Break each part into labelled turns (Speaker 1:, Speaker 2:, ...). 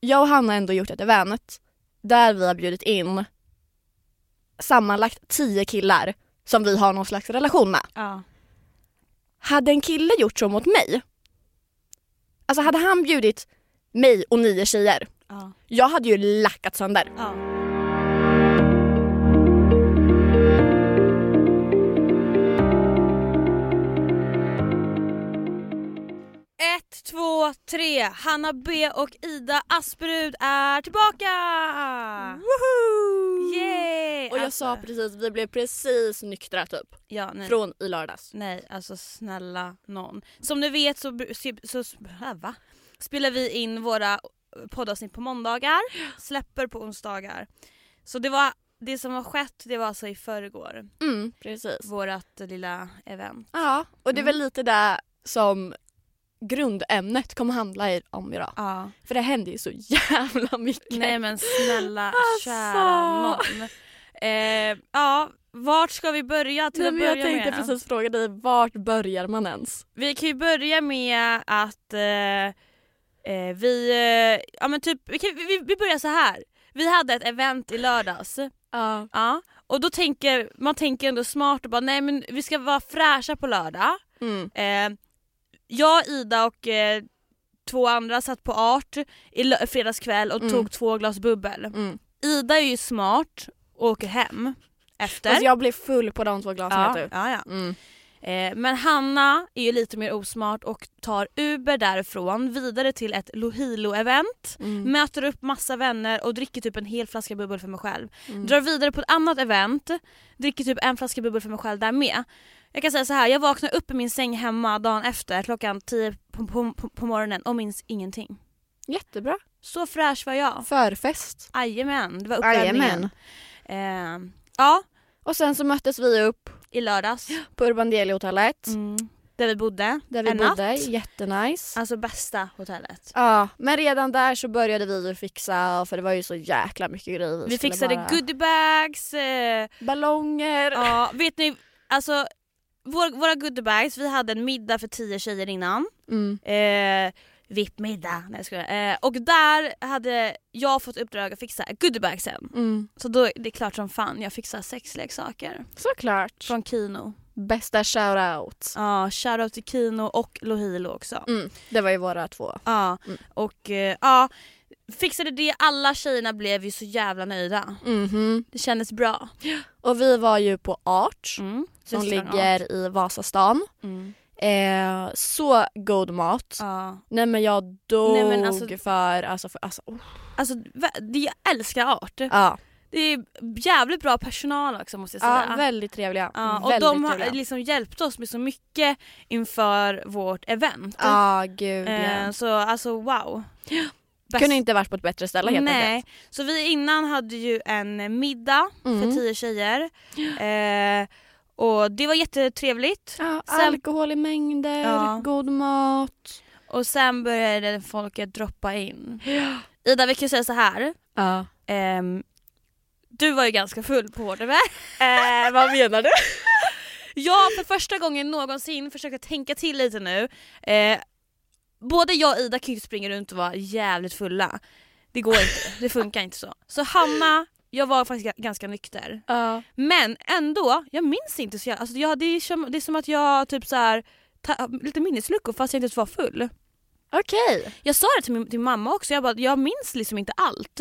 Speaker 1: jag och Hanna har ändå gjort ett event där vi har bjudit in sammanlagt tio killar som vi har någon slags relation med.
Speaker 2: Ja.
Speaker 1: Hade en kille gjort så mot mig, alltså hade han bjudit mig och nio tjejer,
Speaker 2: Ja.
Speaker 1: jag hade ju lackat sönder.
Speaker 2: ja. Ett, två, tre. Hanna B och Ida Asperud är tillbaka!
Speaker 1: Woho!
Speaker 2: Yay!
Speaker 1: Mm. Och jag
Speaker 2: Alltså,
Speaker 1: sa precis, vi blev precis nyktra typ,
Speaker 2: ja, nej.
Speaker 1: från i lördags.
Speaker 2: Nej, alltså snälla någon. Som ni vet så, br- så, så äh, va? spelar vi in våra poddavsnitt på måndagar, släpper på onsdagar. Så det, var, det som har skett det var alltså i förrgår,
Speaker 1: Mm, precis. Mm.
Speaker 2: vårat lilla event.
Speaker 1: Ja, och det är väl lite det som grundämnet kommer handla i- om idag.
Speaker 2: Ja.
Speaker 1: För det händer ju så jävla mycket.
Speaker 2: Nej men snälla
Speaker 1: Alltså.
Speaker 2: kära någon. Eh, ja, vart ska vi börja till
Speaker 1: Nej,
Speaker 2: att
Speaker 1: men
Speaker 2: börja
Speaker 1: jag tänkte
Speaker 2: med?
Speaker 1: precis fråga dig, vart börjar man ens?
Speaker 2: Vi kan ju börja med att eh, eh, vi, eh, ja men typ, vi, kan, vi, vi börjar så här. Vi hade ett event i lördags,
Speaker 1: Ja.
Speaker 2: ja. och då tänker man tänker ändå smart och bara nej men vi ska vara fräscha på lördag.
Speaker 1: Mm.
Speaker 2: Eh, jag, Ida och eh, två andra satt på Art i lö- fredagskväll och
Speaker 1: Mm.
Speaker 2: tog två glas bubbel.
Speaker 1: Mm.
Speaker 2: Ida är ju smart och åker hem efter.
Speaker 1: Alltså jag blev full på de två glasen
Speaker 2: ja,
Speaker 1: vet du.
Speaker 2: ja, ja.
Speaker 1: Mm.
Speaker 2: Eh, men Hanna är ju lite mer osmart och tar Uber därifrån vidare till ett Lohilo-event.
Speaker 1: Mm.
Speaker 2: Möter upp massa vänner och dricker typ en hel flaska bubbel för mig själv.
Speaker 1: Mm.
Speaker 2: Drar vidare på ett annat event, dricker typ en flaska bubbel för mig själv där med. Jag kan säga så här, jag vaknar upp i min säng hemma dagen efter klockan 10 på, på, på, på morgonen och minns ingenting.
Speaker 1: Jättebra.
Speaker 2: Så fräsch var jag.
Speaker 1: Förfest.
Speaker 2: Jajamän, det var uppvärmningen. Eh, ja,
Speaker 1: Och sen så möttes vi upp
Speaker 2: i lördags.
Speaker 1: på Urban Deli hotellet
Speaker 2: Där vi bodde.
Speaker 1: där vi
Speaker 2: Mm. en
Speaker 1: bodde,
Speaker 2: natt.
Speaker 1: jättenice.
Speaker 2: Alltså bästa hotellet.
Speaker 1: Ja, men redan där så började vi ju fixa för det var ju så jäkla mycket grejer.
Speaker 2: Vi
Speaker 1: skulle
Speaker 2: fixade
Speaker 1: bara-
Speaker 2: goodiebags, eh,
Speaker 1: ballonger.
Speaker 2: ja, vet ni, alltså vår, våra goodiebags, vi hade en middag för tio tjejer innan.
Speaker 1: Mm.
Speaker 2: Eh, VIP-middag, nej jag skojar. Eh, och där hade jag fått uppdrag att fixa goodiebagsen.
Speaker 1: Mm.
Speaker 2: Så då är det klart som fan jag fixar sexleksaker
Speaker 1: Såklart.
Speaker 2: från Kino.
Speaker 1: Bästa shoutout.
Speaker 2: Ja, shoutout till Kino och Lohilo också.
Speaker 1: Mm. Det var ju våra två.
Speaker 2: Ja,
Speaker 1: Mm.
Speaker 2: och eh, ja, fixade det, alla tjejerna blev ju så jävla nöjda.
Speaker 1: Mhm.
Speaker 2: Det kändes bra.
Speaker 1: Och vi var ju på Arch
Speaker 2: Mm.
Speaker 1: som
Speaker 2: Restaurang.
Speaker 1: ligger i Vasastan.
Speaker 2: Mm.
Speaker 1: Eh, så god mat.
Speaker 2: Ja.
Speaker 1: Nej men jag dog
Speaker 2: Nej, men alltså-
Speaker 1: för, alltså, för, alltså oh.
Speaker 2: Alltså va- det- jag älskar art.
Speaker 1: ja.
Speaker 2: Det är jävligt bra personal också måste jag säga.
Speaker 1: ja, väldigt trevliga.
Speaker 2: Ja, och
Speaker 1: väldigt
Speaker 2: de har
Speaker 1: trevliga.
Speaker 2: liksom hjälpt oss med så mycket inför vårt event.
Speaker 1: Ja gud
Speaker 2: Eh,
Speaker 1: ja.
Speaker 2: så alltså wow. Bäst-
Speaker 1: Kunde inte varit på ett bättre ställe helt
Speaker 2: Nej.
Speaker 1: enkelt.
Speaker 2: Så vi innan hade ju en middag
Speaker 1: Mm.
Speaker 2: för tio tjejer. Eh, och det var jättetrevligt.
Speaker 1: Ja,
Speaker 2: Sen-
Speaker 1: alkohol i mängder,
Speaker 2: Ja.
Speaker 1: god mat.
Speaker 2: Och sen började folk att droppa in. Ida vi kan ju säga så här.
Speaker 1: Ja.
Speaker 2: Ehm, du var ju ganska full på vårt event.
Speaker 1: Eh, vad menar du?
Speaker 2: Jag för första gången någonsin försökte tänka till lite nu. Eh, både jag och Ida kan ju inte springa runt och vara jävligt fulla. Det går inte, det funkar inte så. Så Hanna, jag var faktiskt ga- ganska nykter.
Speaker 1: Ja.
Speaker 2: Men ändå, jag minns inte så jävla... Alltså jag, det, är som, det är som att jag typ så här, ta, lite minnesluckor fast jag inte ens var full.
Speaker 1: Okej.
Speaker 2: Jag sa det till min till mamma också, jag bara, jag minns liksom inte allt.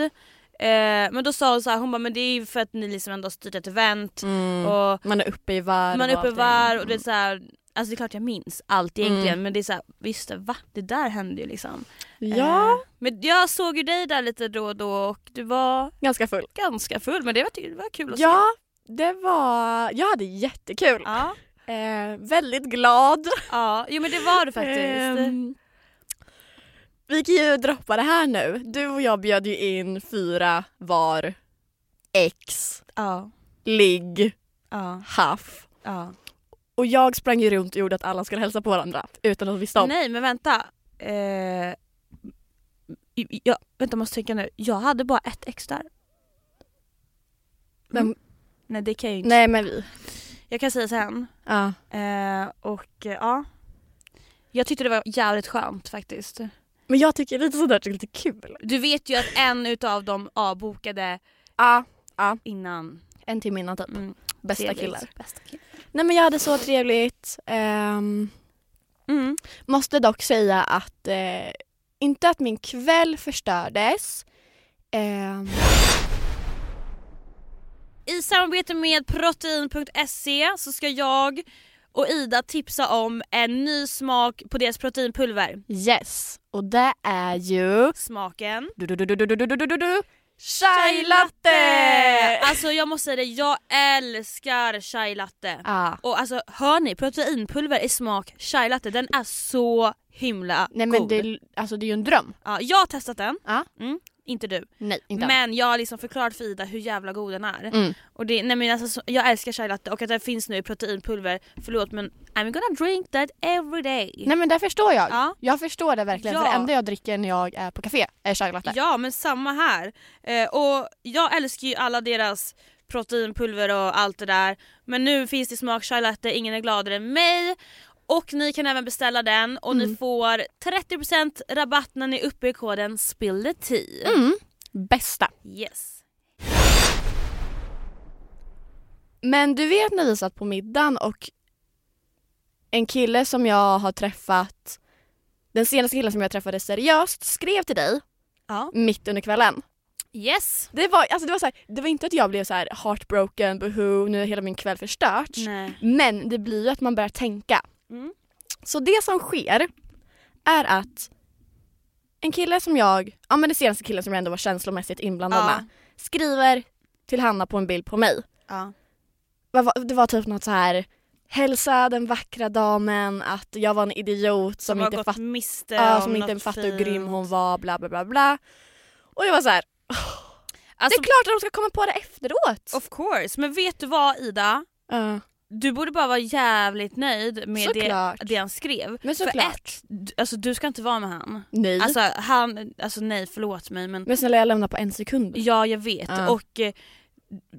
Speaker 2: Eh, men då sa hon så här, hon bara, men det är ju för att ni liksom ändå har styrt ett event
Speaker 1: Mm.
Speaker 2: och
Speaker 1: Man är uppe i varv
Speaker 2: man är uppe i
Speaker 1: och
Speaker 2: varv
Speaker 1: allting.
Speaker 2: och det är så här, alltså det är klart jag minns allt
Speaker 1: Mm.
Speaker 2: egentligen men det är så här, visst det, va? Det där hände ju liksom.
Speaker 1: Mm. Ja,
Speaker 2: Eh, men jag såg ju dig där lite då och då och du var
Speaker 1: ganska full.
Speaker 2: ganska full men det var, det var kul att se.
Speaker 1: Ja, det var... Jag hade jättekul.
Speaker 2: Ja,
Speaker 1: Eh, väldigt glad.
Speaker 2: ja, jo men det var du faktiskt.
Speaker 1: Ehm, vi kan ju droppa det här nu. Du och jag bjöd ju in fyra var ex,
Speaker 2: Ja,
Speaker 1: ligg,
Speaker 2: ja,
Speaker 1: haff.
Speaker 2: ja.
Speaker 1: Och jag sprang ju runt och gjorde att alla skulle hälsa på varandra utan att vissa om.
Speaker 2: Nej men vänta. Eh, jag, vänta jag måste tänka nu, jag hade bara ett ex där. Mm.
Speaker 1: Men-
Speaker 2: Nej det kan jag ju inte.
Speaker 1: Nej men vi.
Speaker 2: Jag kan säga sen.
Speaker 1: Ja.
Speaker 2: Eh, och eh, ja. Jag tyckte det var jävligt skönt faktiskt.
Speaker 1: Men jag tycker lite sådär att det är lite kul.
Speaker 2: Du vet ju att en utav dem avbokade
Speaker 1: Ja,
Speaker 2: innan.
Speaker 1: en timme innan typ.
Speaker 2: Mm,
Speaker 1: Bästa
Speaker 2: trevligt.
Speaker 1: killar.
Speaker 2: Bästa killar.
Speaker 1: Nej men jag hade så trevligt. Ehm,
Speaker 2: Mm.
Speaker 1: måste dock säga att, eh, inte att min kväll förstördes. Ehm,
Speaker 2: I samarbete med protein.se E så ska jag och Ida tipsa om en ny smak på deras proteinpulver.
Speaker 1: yes, och det är ju...
Speaker 2: Smaken...
Speaker 1: Du, du, du, du, du, du, du, du, du, du.
Speaker 2: Chai
Speaker 1: Chai latte!
Speaker 2: Alltså jag måste säga det, jag älskar chai latte.
Speaker 1: Ah.
Speaker 2: Och alltså hör ni, proteinpulver i smak chai latte, den är så himla
Speaker 1: Nej
Speaker 2: god.
Speaker 1: men det, alltså, det är ju en dröm.
Speaker 2: Ja, jag har testat den,
Speaker 1: Ja.
Speaker 2: mm, inte du.
Speaker 1: Nej, inte än.
Speaker 2: Men jag har liksom förklarat för Ida hur jävla god den är.
Speaker 1: Mm.
Speaker 2: Och det, nej men alltså, så- jag älskar chai latte och att den finns nu i proteinpulver, förlåt men I'm gonna drink that every day.
Speaker 1: Nej men det förstår jag.
Speaker 2: Ja.
Speaker 1: Jag förstår det verkligen.
Speaker 2: Ja.
Speaker 1: För det enda jag dricker när jag är på café är chai latte.
Speaker 2: Ja men samma här. Eh, och jag älskar ju alla deras proteinpulver och allt det där. Men nu finns det smak chai latte, ingen är gladare än mig. Och ni kan även beställa den och
Speaker 1: Mm.
Speaker 2: ni får 30% rabatt när ni är uppe i koden spill the
Speaker 1: Mm.
Speaker 2: tea.
Speaker 1: Bästa.
Speaker 2: Yes.
Speaker 1: Men du vet när vi satt på middagen och en kille som jag har träffat, den senaste killen som jag träffade seriöst skrev till dig
Speaker 2: Ja.
Speaker 1: mitt under kvällen.
Speaker 2: Yes.
Speaker 1: Det var, alltså det var, så här, det var inte att jag blev så här heartbroken, boohoo, nu är hela min kväll förstört.
Speaker 2: Nej.
Speaker 1: Men det blir ju att man börjar tänka.
Speaker 2: Mm.
Speaker 1: Så det som sker är att en kille som jag, ja men den senaste killen som jag ändå var känslomässigt inblandad
Speaker 2: Ja.
Speaker 1: med, skriver till Hanna på en bild på mig.
Speaker 2: Ja.
Speaker 1: Vad var- Det var typ något så här hälsa den vackra damen att jag var en idiot som,
Speaker 2: Som har
Speaker 1: inte,
Speaker 2: gått
Speaker 1: fatt,
Speaker 2: miste
Speaker 1: ja,
Speaker 2: om
Speaker 1: som inte
Speaker 2: något
Speaker 1: fattade hur
Speaker 2: fint.
Speaker 1: grym hon var bla bla bla bla. Och jag var så här,
Speaker 2: Alltså,
Speaker 1: det är klart att de ska komma på det efteråt.
Speaker 2: of course, men vet du vad Ida?
Speaker 1: Ja,
Speaker 2: Du borde bara vara jävligt nöjd med det,
Speaker 1: Såklart.
Speaker 2: det han skrev.
Speaker 1: men
Speaker 2: För
Speaker 1: såklart.
Speaker 2: Du, alltså du ska inte vara med han.
Speaker 1: Nej.
Speaker 2: Alltså han, alltså nej förlåt mig men
Speaker 1: men snälla jag lämnar på en sekund.
Speaker 2: ja jag vet
Speaker 1: Ja.
Speaker 2: och eh,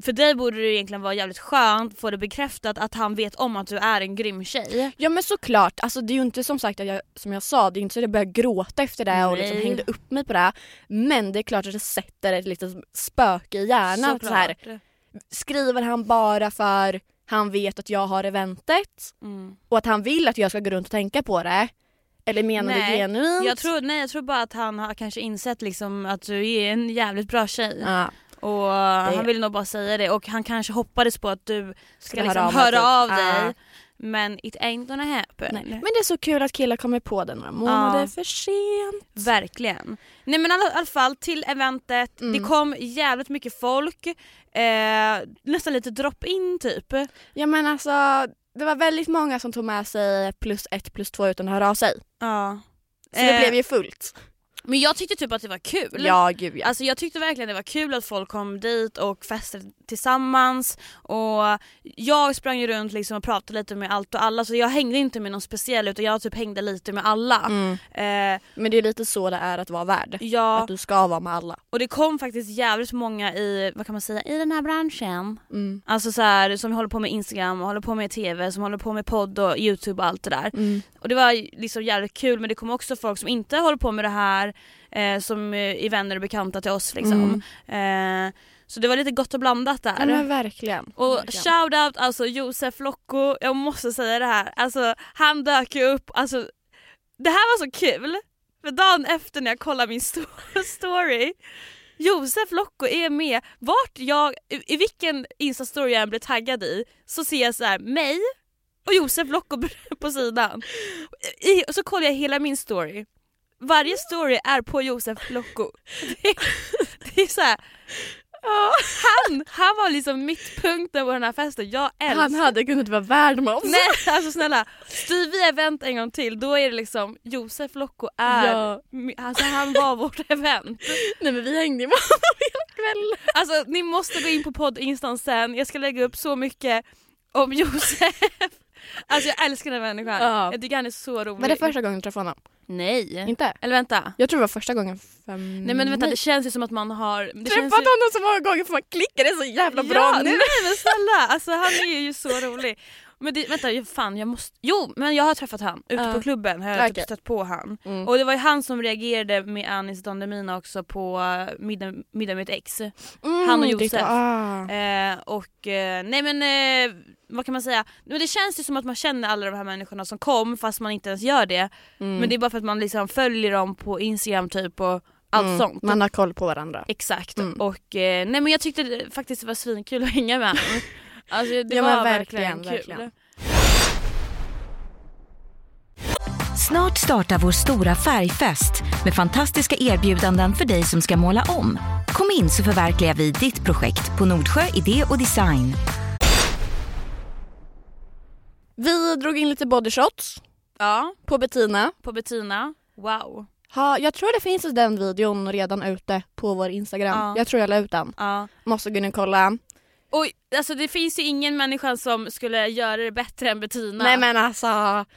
Speaker 2: för dig borde det egentligen vara jävligt skönt att få det bekräftat att han vet om att du är en grym tjej.
Speaker 1: Ja men såklart, alltså, det är ju inte som sagt att jag, som jag sa, det är ju inte så att jag började gråta efter det och
Speaker 2: Nej.
Speaker 1: liksom hängde upp mig på det. Men det är klart att det sätter ett litet spöke i hjärnan. att Så här,
Speaker 2: Såklart.
Speaker 1: skriver han bara för han vet att jag har eventet
Speaker 2: Mm.
Speaker 1: och att han vill att jag ska gå runt och tänka på det? Eller menar
Speaker 2: Nej,
Speaker 1: du genuint?
Speaker 2: Jag tror, nej jag tror bara att han har kanske insett liksom att du är en jävligt bra tjej
Speaker 1: Ja,
Speaker 2: och han vill nog bara säga det och han kanske hoppades på att du ska
Speaker 1: Skulle
Speaker 2: liksom
Speaker 1: höra av mig, typ.
Speaker 2: höra av
Speaker 1: Ja.
Speaker 2: dig men it ain't gonna happen.
Speaker 1: nej. Men det är så kul att killar kommer på det några månader för sent.
Speaker 2: Verkligen. Nej men i alla, alla fall till eventet,
Speaker 1: Mm.
Speaker 2: det kom jävligt mycket folk, eh, nästan lite drop-in typ.
Speaker 1: Ja men alltså, det var väldigt många som tog med sig plus ett plus två utan att höra av sig.
Speaker 2: Ja.
Speaker 1: Så det
Speaker 2: Eh,
Speaker 1: blev ju fullt.
Speaker 2: Men jag tyckte typ att det var kul.
Speaker 1: Ja gud ja.
Speaker 2: Alltså jag tyckte verkligen det var kul att folk kom dit och festade tillsammans och jag sprang ju runt liksom och pratade lite med allt och alla så jag hängde inte med någon speciell utan jag typ hängde lite med alla.
Speaker 1: Mm.
Speaker 2: Eh,
Speaker 1: Men det är lite så det är att vara värd.
Speaker 2: ja,
Speaker 1: Att du ska vara med alla.
Speaker 2: och det kom faktiskt jävligt många i, vad kan man säga, i den här branschen.
Speaker 1: Mm.
Speaker 2: Alltså så här, som håller på med Instagram och håller på med TV, som håller på med podd och YouTube och allt det där. Och det var ju liksom jävligt kul men det kom också folk som inte håller på med det här eh, som eh, är vänner och bekanta till oss liksom.
Speaker 1: Mm.
Speaker 2: Eh, så det var lite gott och blandat där.
Speaker 1: Ja, men verkligen.
Speaker 2: Och
Speaker 1: verkligen.
Speaker 2: shoutout alltså Josef Locko, jag måste säga det här, alltså han dök ju upp, alltså det här var så kul, för dagen efter när jag kollade min sto- story, Josef Locko är med, vart jag, i, i vilken instastory jag än blir taggad i, så ser jag så här mig och Josef Locko på sidan. I, och så kollar jag hela min story, varje story är på Josef Locko. Det, är- det är så här, han, han var liksom mittpunkten på den här festen, jag älskar
Speaker 1: Han hade kunnat vara värd med oss.
Speaker 2: Nej alltså snälla, styr vi event en gång till då är det liksom Josef Locko är,
Speaker 1: Ja.
Speaker 2: alltså han var vårt event.
Speaker 1: Nej men vi hängde ju med honom hela kvällen.
Speaker 2: Alltså ni måste gå in på poddinstan sen, jag ska lägga upp så mycket om Josef. Alltså jag älskar den här människan,
Speaker 1: Ja.
Speaker 2: jag tycker han är så rolig.
Speaker 1: Var det första gången du träffade honom?
Speaker 2: Nej.
Speaker 1: Eh. Inte?
Speaker 2: Eller vänta.
Speaker 1: Jag tror det var första gången för
Speaker 2: Nej men vänta det känns ju som att man har... Det känns
Speaker 1: träffat
Speaker 2: ju...
Speaker 1: honom så många gånger för man klickade så jävla bra
Speaker 2: ja,
Speaker 1: nu.
Speaker 2: Nej men snälla, alltså han är ju så rolig. Men det, vänta, jag- fan jag måste... Jo men jag har träffat han ute
Speaker 1: Ja.
Speaker 2: på klubben har jag
Speaker 1: Okej.
Speaker 2: typ stött på han.
Speaker 1: Mm.
Speaker 2: Och det var ju han som reagerade med Anis Don Demina också på eh, middag, middag med ett ex. han och
Speaker 1: Mm, det-
Speaker 2: Josef.
Speaker 1: ah.
Speaker 2: Eh, och eh, nej men eh, vad kan man säga? Men det känns ju som att man känner alla de här människorna som kom fast man inte ens gör det.
Speaker 1: Mm.
Speaker 2: Men det är bara för att man liksom följer dem på Instagram typ och allt
Speaker 1: Mm,
Speaker 2: sånt.
Speaker 1: Man har koll på varandå.
Speaker 2: Exakt.
Speaker 1: Mm.
Speaker 2: Och eh, nej men jag tyckte det, faktiskt det var svinkul att hänga med honom. Alltså det
Speaker 1: Ja, men
Speaker 2: var verkligen,
Speaker 1: verkligen,
Speaker 2: kul.
Speaker 1: verkligen.
Speaker 3: Snart startar vår stora färgfest med fantastiska erbjudanden för dig som ska måla om. Kom in så förverkligar vi ditt projekt på Nordsjö Idé och Design.
Speaker 1: Vi drog in lite bodyshots
Speaker 2: Ja,
Speaker 1: på Bettina.
Speaker 2: på Bettina. Wow.
Speaker 1: Ha, jag tror det finns den videon redan ute på vår Instagram.
Speaker 2: Ja.
Speaker 1: Jag tror jag la ut den.
Speaker 2: Ja.
Speaker 1: Måste gå in och kolla.
Speaker 2: Och alltså det finns ju ingen människa som skulle göra det bättre än Bettina.
Speaker 1: Nej men alltså.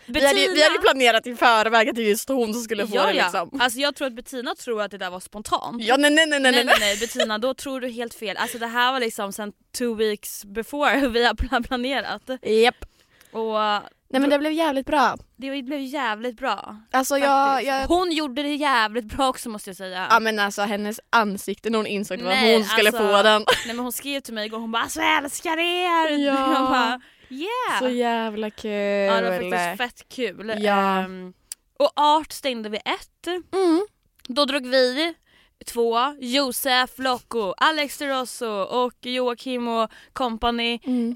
Speaker 1: Vi
Speaker 2: Bettina...
Speaker 1: hade, ju- vi hade ju planerat i förväg att det är just hon som skulle få
Speaker 2: ja,
Speaker 1: det
Speaker 2: ja.
Speaker 1: liksom.
Speaker 2: Alltså jag tror att Bettina tror att det där var spontant.
Speaker 1: Ja nej nej nej nej.
Speaker 2: Nej
Speaker 1: nej.
Speaker 2: nej nej Bettina, då tror du helt fel. Alltså det här var liksom sen two weeks before hur vi har pla- planerat.
Speaker 1: Japp.
Speaker 2: Och eh,
Speaker 1: Nej men det blev jävligt bra.
Speaker 2: det blev jävligt bra.
Speaker 1: Alltså jag,
Speaker 2: faktiskt.
Speaker 1: jag
Speaker 2: Hon gjorde det jävligt bra också måste jag säga.
Speaker 1: Ja men alltså hennes ansikte när hon insåg att det var
Speaker 2: Nej,
Speaker 1: hon som skulle
Speaker 2: alltså,
Speaker 1: få den.
Speaker 2: Nej, men hon skrev till mig igår hon bara alltså, jag älskar er!
Speaker 1: Ja.
Speaker 2: Jag bara yeah!
Speaker 1: Så jävla kul.
Speaker 2: ja, det var faktiskt fett kul.
Speaker 1: Ja.
Speaker 2: Ehm, och art stängde vi ett.
Speaker 1: mm.
Speaker 2: Då drog vi två, Josef Locco, Alex de Rosso och Joakim och company.
Speaker 1: Mm.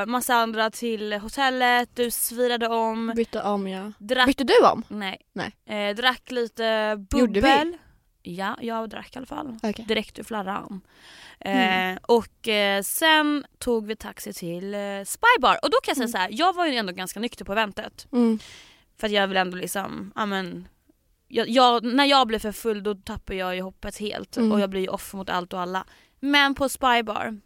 Speaker 2: Eh, massa andra till hotellet, du svirade om,
Speaker 1: Bytte om ja.
Speaker 2: drack,
Speaker 1: Bytte du om?
Speaker 2: nej,
Speaker 1: Nej.
Speaker 2: Eh, drack lite
Speaker 1: Gjorde vi?
Speaker 2: bubbel. Ja, jag drack i alla fall.
Speaker 1: Okej.
Speaker 2: Direkt ur flarran. Eh,
Speaker 1: Mm.
Speaker 2: Och eh, sen tog vi taxi till eh, Spybar och då kan jag säga
Speaker 1: Mm.
Speaker 2: så här, jag var ju ändå ganska nykter på eventet.
Speaker 1: Mm.
Speaker 2: För att jag vill ändå liksom, ja men jag, jag, när jag blir för full då tappar jag ju hoppet helt
Speaker 1: Mm.
Speaker 2: och jag blir ju off mot allt och alla. Men på Spybar,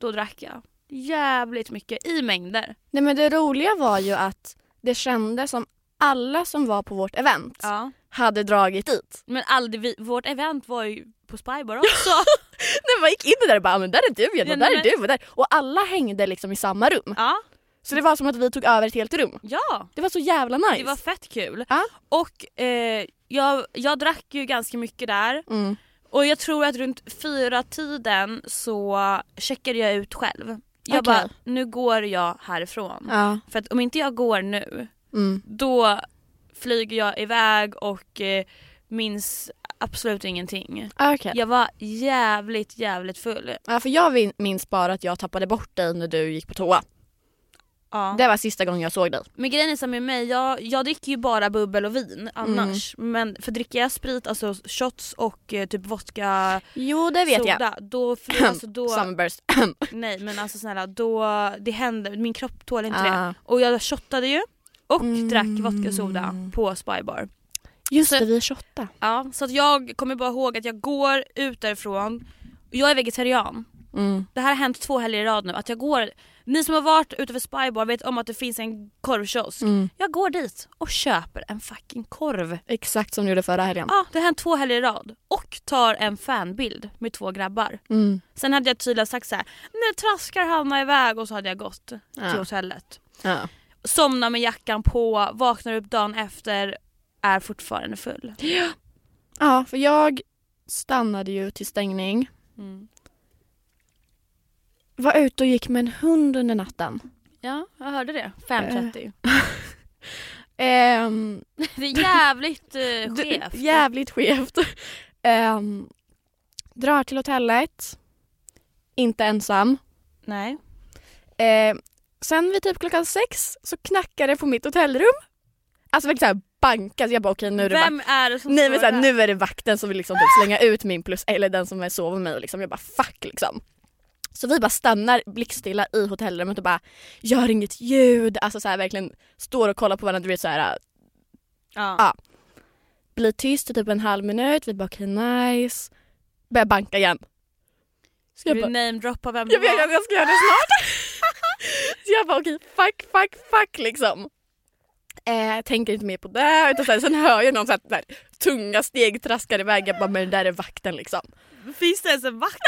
Speaker 2: då drack jag jävligt mycket i mängder.
Speaker 1: Nej men det roliga var ju att det kändes som alla som var på vårt event
Speaker 2: Ja.
Speaker 1: hade dragit dit.
Speaker 2: Men aldrig, vi, vårt event var ju på Spybar också.
Speaker 1: Nej, man gick in där och bara, "Ah, men där är du Jenna, där
Speaker 2: Ja, nej,
Speaker 1: är du och där. Och alla hängde liksom i samma rum.
Speaker 2: ja,
Speaker 1: Så det var som att vi tog över ett helt rum.
Speaker 2: ja.
Speaker 1: Det var så jävla nice.
Speaker 2: Det var fett kul.
Speaker 1: Ja.
Speaker 2: Och eh, jag, jag drack ju ganska mycket där
Speaker 1: mm.
Speaker 2: och jag tror att runt fyra tiden så checkade jag ut själv. Jag
Speaker 1: Okej.
Speaker 2: bara, nu går jag härifrån.
Speaker 1: Ja.
Speaker 2: För att om inte jag går nu,
Speaker 1: Mm.
Speaker 2: då flyger jag iväg och eh, minns absolut ingenting.
Speaker 1: Okej.
Speaker 2: Jag var jävligt jävligt full.
Speaker 1: Ja, för jag vin- minns bara att jag tappade bort dig när du gick på toa.
Speaker 2: Ja.
Speaker 1: Det var sista gången jag såg dig.
Speaker 2: Men grejen är så här med mig, jag, jag dricker ju bara bubbel och vin annars.
Speaker 1: Mm.
Speaker 2: Men för dricker jag sprit, alltså shots och eh, typ vodka,
Speaker 1: Jo, det vet
Speaker 2: soda, då, fly- alltså då,
Speaker 1: jag. Summerburst.
Speaker 2: nej men alltså snälla, då, det händer, min kropp tål inte det.
Speaker 1: Ah.
Speaker 2: Och jag shottade ju och
Speaker 1: Mm.
Speaker 2: drack vodka och soda på Spybar.
Speaker 1: Just
Speaker 2: Så-
Speaker 1: det, vi är 28.
Speaker 2: Ja, så att jag kommer bara ihåg att jag går ut därifrån, jag är vegetarian.
Speaker 1: Mm.
Speaker 2: Det här har hänt två helger i rad nu, att jag går, ni som har varit utanför Spybar vet om att det finns en
Speaker 1: Mm.
Speaker 2: korvkiosk. Jag går dit och köper en fucking korv.
Speaker 1: Exakt som du gjorde förra helgen.
Speaker 2: Ja, det har hänt två helger i rad. Och tar en fanbild med två grabbar.
Speaker 1: Mm.
Speaker 2: Sen hade jag tydligen sagt så här: nu traskar Hanna iväg och så hade jag gått till
Speaker 1: Ja.
Speaker 2: hotellet.
Speaker 1: Ja.
Speaker 2: Somnar med jackan på, vaknar upp dagen efter, är fortfarande full.
Speaker 1: ja, för jag stannade ju till stängning. Mm. Var ute och gick med en hund under natten.
Speaker 2: Ja, jag hörde det. 5.30.
Speaker 1: Ehm,
Speaker 2: Eh. Det är jävligt eh,
Speaker 1: d-
Speaker 2: skevt.
Speaker 1: Jävligt skevt. Ehm, drar till hotellet. Inte ensam.
Speaker 2: Nej.
Speaker 1: Ehm, sen vid typ klockan sex så knackar det på mitt hotellrum. Alltså verkligen såhär bankas. Jag bara okej nu är det vakt-
Speaker 2: Vem är det som
Speaker 1: Nej men
Speaker 2: står
Speaker 1: såhär,
Speaker 2: där?
Speaker 1: nu är det vakten som vill liksom typ slänga ut min plus eller den som vill sova med mig. Liksom. Jag bara fuck liksom. Så vi bara stannar blickstilla i hotellrummet och bara gör inget ljud. Alltså så här, verkligen står och kollar på varandra. Du vet såhär,
Speaker 2: Ja.
Speaker 1: Ja. blir tyst i typ en halv minut. Vi bara okej nice. Börjar banka igen. Så
Speaker 2: Ska
Speaker 1: jag
Speaker 2: du
Speaker 1: bara,
Speaker 2: namedroppa vem det
Speaker 1: jag vet
Speaker 2: var?
Speaker 1: att jag ska göra det snart. så jag bara okej fuck, fuck, fuck liksom. Eh, tänker inte mer på det. Utan så här, sen hör jag någon så här, där, tunga steg traskar iväg. Jag bara men det där är vakten liksom.
Speaker 2: Finns det ens en vakt?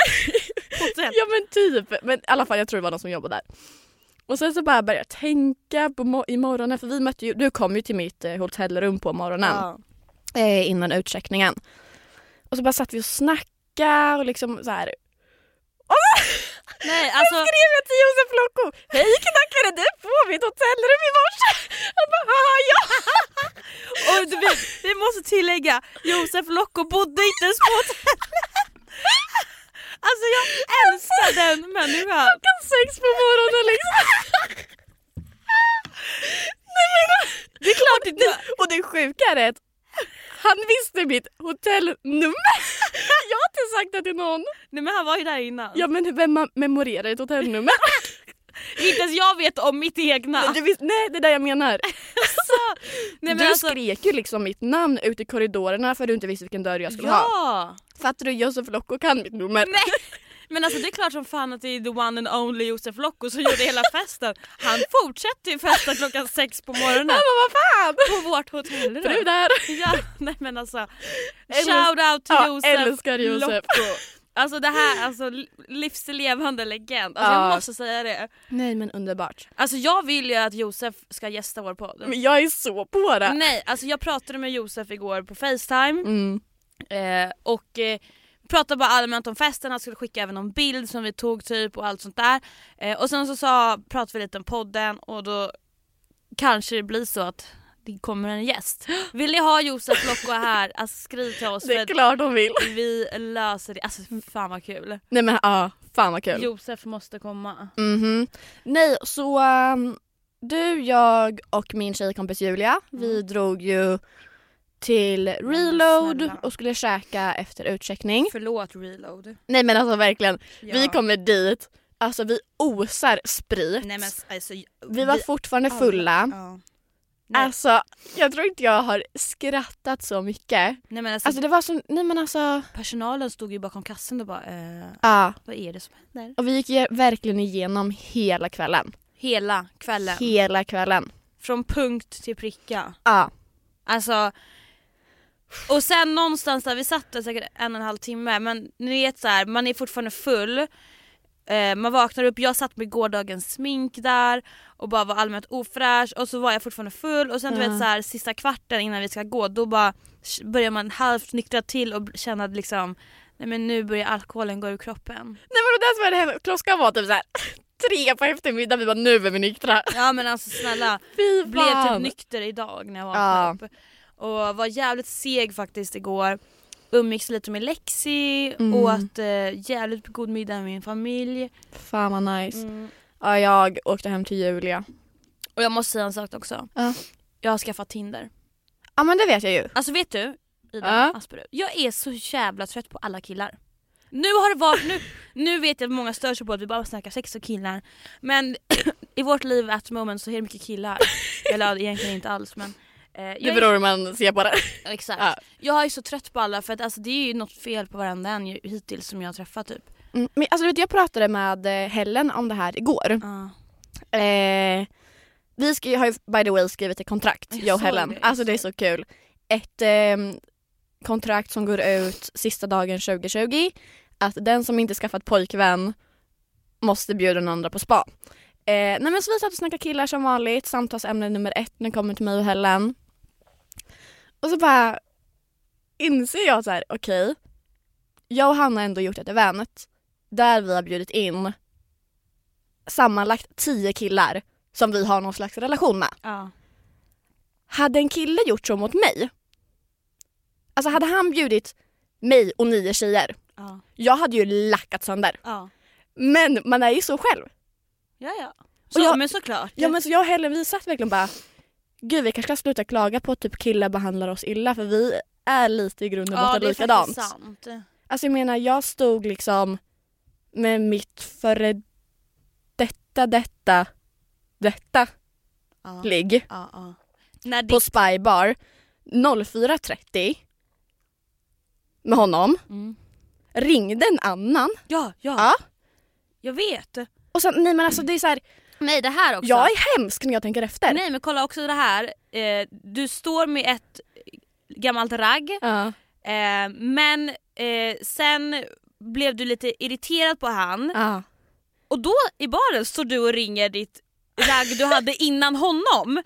Speaker 2: På hotellet?
Speaker 1: Ja men typ. Men i alla fall jag tror det var någon som jobbade där. Och sen så bara började jag tänka på mo- i morgonen för vi mötte ju, du kom ju till mitt eh, hotellrum på morgonen
Speaker 2: Ja.
Speaker 1: eh, innan utcheckningen. Och så bara satt vi och snackade och liksom så här.
Speaker 2: Nej alltså,
Speaker 1: Skrev jag till Josef Locko? Hej knackade du på mitt hotellrum i morse? Han bara haha ja!
Speaker 2: och du vet, vi måste tillägga, Josef Locko bodde inte ens på hotellet. Alltså jag älskar den människan.
Speaker 1: Klockan sex på morgonen liksom. Nej men det är klart inte. Och det sjuka är att han visste mitt hotellnummer. Jag har inte sagt det till någon.
Speaker 2: Nej men han var ju där innan.
Speaker 1: Ja men vem man memorerar ett hotellnummer?
Speaker 2: Inte ens jag vet om mitt egna.
Speaker 1: Du vis- nej det är det jag menar.
Speaker 2: Nej, men
Speaker 1: du
Speaker 2: alltså-
Speaker 1: skrek ju liksom mitt namn ute i korridorerna för du inte visste vilken dörr jag skulle ha.
Speaker 2: Ja!
Speaker 1: Fattar du? Josef Locko kan mitt nummer.
Speaker 2: Nej. Men alltså det är klart som fan att det är the one and only Josef Locko som gjorde hela festen. Han fortsätter ju festa klockan sex på morgonen
Speaker 1: Men vad fan!
Speaker 2: på vårt hotellrum.
Speaker 1: Brudar!
Speaker 2: Ja, nej men alltså.
Speaker 1: Älsk-
Speaker 2: Shout out till
Speaker 1: Ja,
Speaker 2: Josef.
Speaker 1: älskar Josef.
Speaker 2: Locko. Alltså det här, alltså li- livslevande legend. Alltså
Speaker 1: Ja.
Speaker 2: jag måste säga det.
Speaker 1: Nej men underbart.
Speaker 2: Alltså jag vill ju att Josef ska gästa vår podd.
Speaker 1: Men jag är så på det.
Speaker 2: Nej, alltså jag pratade med Josef igår på Facetime
Speaker 1: Mm.
Speaker 2: eh, och eh, pratade bara allmänt om festen, han skulle skicka även någon bild som vi tog typ och allt sånt där. Eh, och sen så sa, pratade vi lite om podden och då kanske det blir så att det kommer en gäst. Vill ni ha Josef Locko här, alltså, skriv till oss
Speaker 1: Det är
Speaker 2: för
Speaker 1: klart de vill.
Speaker 2: vi löser det. Alltså fan vad kul.
Speaker 1: Nej men Mm. ja, fan vad kul.
Speaker 2: Josef måste komma.
Speaker 1: Mhm. Nej, så ehm, du, jag och min tjejkompis Julia, vi drog ju till Reload
Speaker 2: Mm. snälla.
Speaker 1: och skulle käka efter utcheckning.
Speaker 2: Förlåt reload.
Speaker 1: Nej men alltså verkligen,
Speaker 2: Ja.
Speaker 1: vi kommer dit, alltså vi osar sprit.
Speaker 2: Nej men alltså.
Speaker 1: vi var fortfarande fulla.
Speaker 2: Ja. Nej.
Speaker 1: Alltså jag tror inte jag har skrattat så mycket.
Speaker 2: Nej men alltså,
Speaker 1: Alltså det var så, nej men alltså.
Speaker 2: personalen stod ju bakom kassen och bara eh,
Speaker 1: Ja.
Speaker 2: vad är det som händer?
Speaker 1: Och vi gick ge- verkligen igenom hela kvällen.
Speaker 2: Hela kvällen.
Speaker 1: Hela kvällen.
Speaker 2: Från punkt till pricka.
Speaker 1: Ja.
Speaker 2: Alltså och sen någonstans där vi satt där säkert en och en halv timme men ni vet så här, man är fortfarande full. Eh, man vaknar upp, jag satt med gårdagens smink där och bara var allmänt ofräsch och så var jag fortfarande full och sen du
Speaker 1: Ja.
Speaker 2: vet så här, sista kvarten innan vi ska gå då bara sh- börjar man halvt nyktra till och känna att liksom nej men nu börjar alkoholen gå ur kroppen.
Speaker 1: Nej men det där som hade hänt, klockan var typ så här tre på eftermiddagen, vi bara nu är vi nyktra.
Speaker 2: Ja men alltså snälla
Speaker 1: Fy
Speaker 2: blev typ
Speaker 1: fan.
Speaker 2: nykter idag när jag vaknade upp. Och var jävligt seg faktiskt igår. Umgicks lite med Lexi,
Speaker 1: Mm.
Speaker 2: åt eh, jävligt god middag med min familj.
Speaker 1: Fan vad nice. Mm. Ja, jag åkte hem till Julia.
Speaker 2: Och jag måste säga en sak också.
Speaker 1: Ja.
Speaker 2: Jag har skaffat Tinder.
Speaker 1: Ja men det vet jag ju.
Speaker 2: Alltså vet du, Ida
Speaker 1: Ja.
Speaker 2: Asperud, jag är så jävla trött på alla killar. Nu har det varit, nu, nu vet jag att många stör sig på att vi bara snackar sex och killar. Men i vårt liv at the moment så är det mycket killar. Eller egentligen inte alls men. eh, jag
Speaker 1: Det
Speaker 2: är-
Speaker 1: beror hur man ser på det.
Speaker 2: Exakt.
Speaker 1: Ja.
Speaker 2: Jag är så trött på alla för att alltså, det är ju något fel på varenda en ju- hittills som jag har träffat typ.
Speaker 1: Mm, Men alltså vet du, jag pratade med eh, Helen om det här igår.
Speaker 2: Ja.
Speaker 1: Eh, vi ska, har ju by the way skrivit ett kontrakt,
Speaker 2: Jag
Speaker 1: jag, och
Speaker 2: såg
Speaker 1: Helen.
Speaker 2: det, jag
Speaker 1: alltså det är så kul. Ett ehm, kontrakt som går ut sista dagen 2020. Att den som inte skaffat pojkvän måste bjuda den andra på spa. Eh, nej men så vi satt och snackade killar som vanligt, samtalsämne nummer ett när det kommer till mig och Helen. Och så bara inser jag så här, okej. jag och Hanna har ändå gjort ett event där vi har bjudit in sammanlagt tio killar som vi har någon slags relation med.
Speaker 2: Ja.
Speaker 1: Hade en kille gjort så mot mig, alltså hade han bjudit mig och nio tjejer,
Speaker 2: Ja.
Speaker 1: jag hade ju lackat sönder.
Speaker 2: Ja.
Speaker 1: Men man är ju så själv.
Speaker 2: Ja, Så,
Speaker 1: Och jag-
Speaker 2: men såklart.
Speaker 1: Ja men så jag och Helen vi satt verkligen bara, gud vi kanske ska sluta klaga på att typ killar behandlar oss illa för vi är lite i grund och
Speaker 2: ja,
Speaker 1: botten
Speaker 2: det är
Speaker 1: likadant.
Speaker 2: faktiskt sant.
Speaker 1: Alltså jag menar jag stod liksom med mitt före detta, detta, detta
Speaker 2: Ja.
Speaker 1: ligg
Speaker 2: Ja, ja. När
Speaker 1: på
Speaker 2: ditt...
Speaker 1: Spybar 04.30 med honom,
Speaker 2: Mm.
Speaker 1: ringde en annan.
Speaker 2: Ja, ja,
Speaker 1: Ja.
Speaker 2: Jag vet.
Speaker 1: Och sen, nej men alltså det är så här,
Speaker 2: Nej det här också.
Speaker 1: jag är hemsk när jag tänker efter.
Speaker 2: Nej men kolla också det här. Eh, du står med ett gammalt ragg.
Speaker 1: Ja,
Speaker 2: Eh, men eh, sen blev du lite irriterad på han.
Speaker 1: ja.
Speaker 2: Och då i baren står du och ringer ditt ragg du hade innan honom.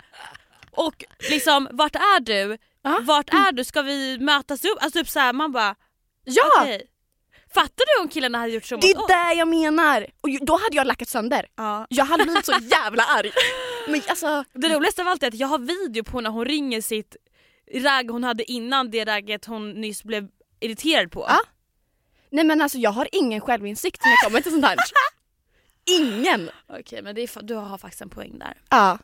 Speaker 2: Och liksom, vart är du?
Speaker 1: Ja.
Speaker 2: Vart är du? Ska vi mötas upp? Alltså typ såhär, man bara
Speaker 1: Ja!
Speaker 2: okej. Fattar du om killarna hade gjort så mot
Speaker 1: Det
Speaker 2: oss?
Speaker 1: är där jag menar! Och ju- då hade jag lackat sönder.
Speaker 2: Ja.
Speaker 1: Jag hade blivit så jävla arg. Men alltså,
Speaker 2: Det roligaste av allt är att jag har video på när hon ringer sitt ragg hon hade innan det ragget hon nyss blev irriterad på.
Speaker 1: Ja. nej men alltså jag har ingen självinsikt när det kommer till sånt här. Ingen!
Speaker 2: Okej men det är, fa- du har faktiskt en poäng där.
Speaker 1: Ja.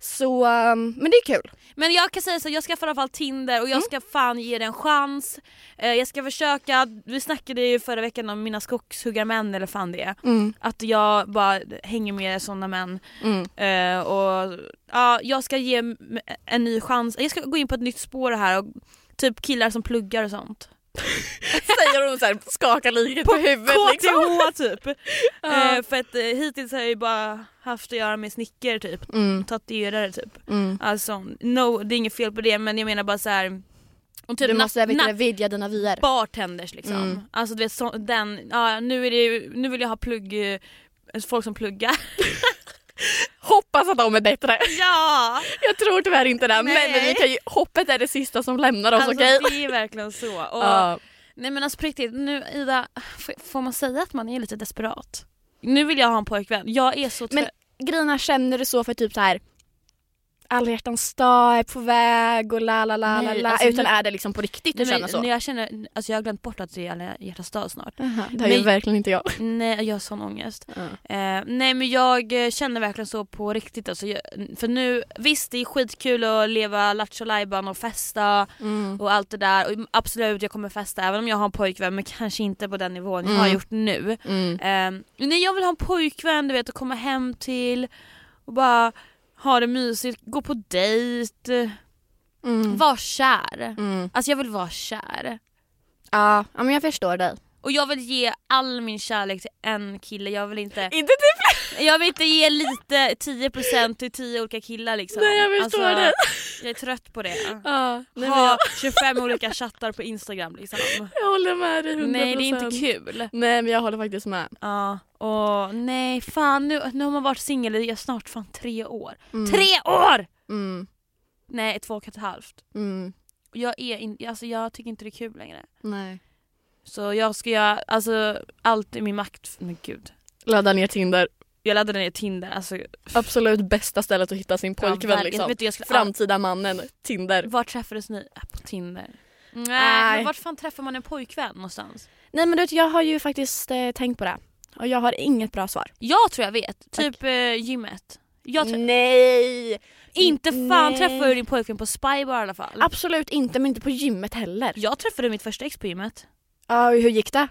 Speaker 1: Så, um, men det är kul.
Speaker 2: Men jag kan säga så, jag ska i alla fall Tinder
Speaker 1: Mm.
Speaker 2: och jag ska fan ge det en chans. Eh, jag ska försöka, vi snackade ju förra veckan om mina skogshuggarmän eller fan det är.
Speaker 1: Mm.
Speaker 2: Att jag bara hänger med sådana män.
Speaker 1: Mm.
Speaker 2: Eh, och ja, Jag ska ge m- en ny chans, jag ska gå in på ett nytt spår här och typ killar som pluggar och sånt.
Speaker 1: Säger hon såhär, skakar liket på, huvudet liksom.
Speaker 2: KTH typ!
Speaker 1: Ja.
Speaker 2: Eh, för att eh, hittills har jag ju bara haft att göra med snickare typ,
Speaker 1: Mm,
Speaker 2: tatuerare typ.
Speaker 1: mm.
Speaker 2: Alltså no, det är inget fel på det men jag menar bara så här. och typ
Speaker 1: Du
Speaker 2: na-
Speaker 1: måste vet,
Speaker 2: na-
Speaker 1: du, vidga dina vyer.
Speaker 2: bartenders liksom.
Speaker 1: Mm.
Speaker 2: Alltså du vet så, den, ja, nu, är det, ju- nu vill jag ha plugg, eh, folk som pluggar.
Speaker 1: Hoppas att de är bättre.
Speaker 2: ja!
Speaker 1: Jag tror tyvärr inte det.
Speaker 2: Nej.
Speaker 1: Men vi kan ju, hoppet är det sista som lämnar oss,
Speaker 2: Alltså
Speaker 1: okej?
Speaker 2: det är verkligen så. Och,
Speaker 1: Ja.
Speaker 2: Nej men alltså på riktigt, nu Ida, f- får man säga att man är lite desperat? Nu vill jag ha en pojkvän, jag är så trött.
Speaker 1: Men- Grejen är, känner du så för typ så här alla hjärtans dag är på väg och la la la la
Speaker 2: Nej,
Speaker 1: la
Speaker 2: alltså
Speaker 1: utan
Speaker 2: nu-
Speaker 1: är det liksom på riktigt du
Speaker 2: Nej,
Speaker 1: känner
Speaker 2: men,
Speaker 1: så?
Speaker 2: när jag känner, alltså jag har glömt bort att det är alla hjärtans dag snart.
Speaker 1: det har ju
Speaker 2: men-
Speaker 1: verkligen inte jag.
Speaker 2: Nej jag har sån ångest.
Speaker 1: Ja.
Speaker 2: Eh, nej men jag eh, känner verkligen så på riktigt alltså, jag, för nu, visst det är skitkul att leva lattjo lajban och festa
Speaker 1: Mm.
Speaker 2: och allt det där. Och absolut jag kommer festa även om jag har en pojkvän men kanske inte på den nivån jag har
Speaker 1: Mm.
Speaker 2: gjort nu. Ehm, nej jag vill ha en pojkvän du vet att komma hem till och bara ha det mysigt, gå på dejt,
Speaker 1: Mm.
Speaker 2: vara kär.
Speaker 1: Mm.
Speaker 2: Alltså jag vill vara kär.
Speaker 1: Ja, ja, men jag förstår dig.
Speaker 2: Och jag vill ge all min kärlek till en kille, jag vill inte,
Speaker 1: Inte typ
Speaker 2: jag vill inte ge lite 10% till 10 olika killar liksom.
Speaker 1: Nej, jag förstår
Speaker 2: alltså,
Speaker 1: det.
Speaker 2: Jag är trött på det.
Speaker 1: ja, nej, men
Speaker 2: Ha
Speaker 1: jag,
Speaker 2: 25 olika chattar på instagram liksom.
Speaker 1: jag håller med dig 100%.
Speaker 2: Nej det är inte kul.
Speaker 1: Nej men jag håller faktiskt med.
Speaker 2: Ja, och nej fan nu, nu har man varit singel i snart fan tre år.
Speaker 1: Mm.
Speaker 2: Tre år!
Speaker 1: Mm.
Speaker 2: Nej två och ett halvt.
Speaker 1: Mm.
Speaker 2: Och Jag, är in, alltså, jag tycker inte det är kul längre.
Speaker 1: Nej.
Speaker 2: Så jag ska göra alltså, allt i min makt. Men gud.
Speaker 1: Ladda ner Tinder.
Speaker 2: Jag laddade ner Tinder. Alltså,
Speaker 1: Absolut bästa stället att hitta sin pojkvän
Speaker 2: verkligen.
Speaker 1: liksom.
Speaker 2: Vet du, jag skulle,
Speaker 1: Framtida mannen, Tinder.
Speaker 2: Ah, var träffades ni? Ah, På Tinder. Nej,
Speaker 1: Nej.
Speaker 2: men vart fan träffar man en pojkvän någonstans?
Speaker 1: Nej men du vet, jag har ju faktiskt eh, tänkt på det. Och jag har inget bra svar.
Speaker 2: Jag tror jag vet. Typ eh, gymmet. Jag tror,
Speaker 1: Nej!
Speaker 2: Inte fan
Speaker 1: Mm, Nej.
Speaker 2: träffade du din pojkvän på Spybar i alla fall.
Speaker 1: Absolut inte, men inte på gymmet heller.
Speaker 2: Jag träffade mitt första ex på gymmet.
Speaker 1: Ja, hur gick det?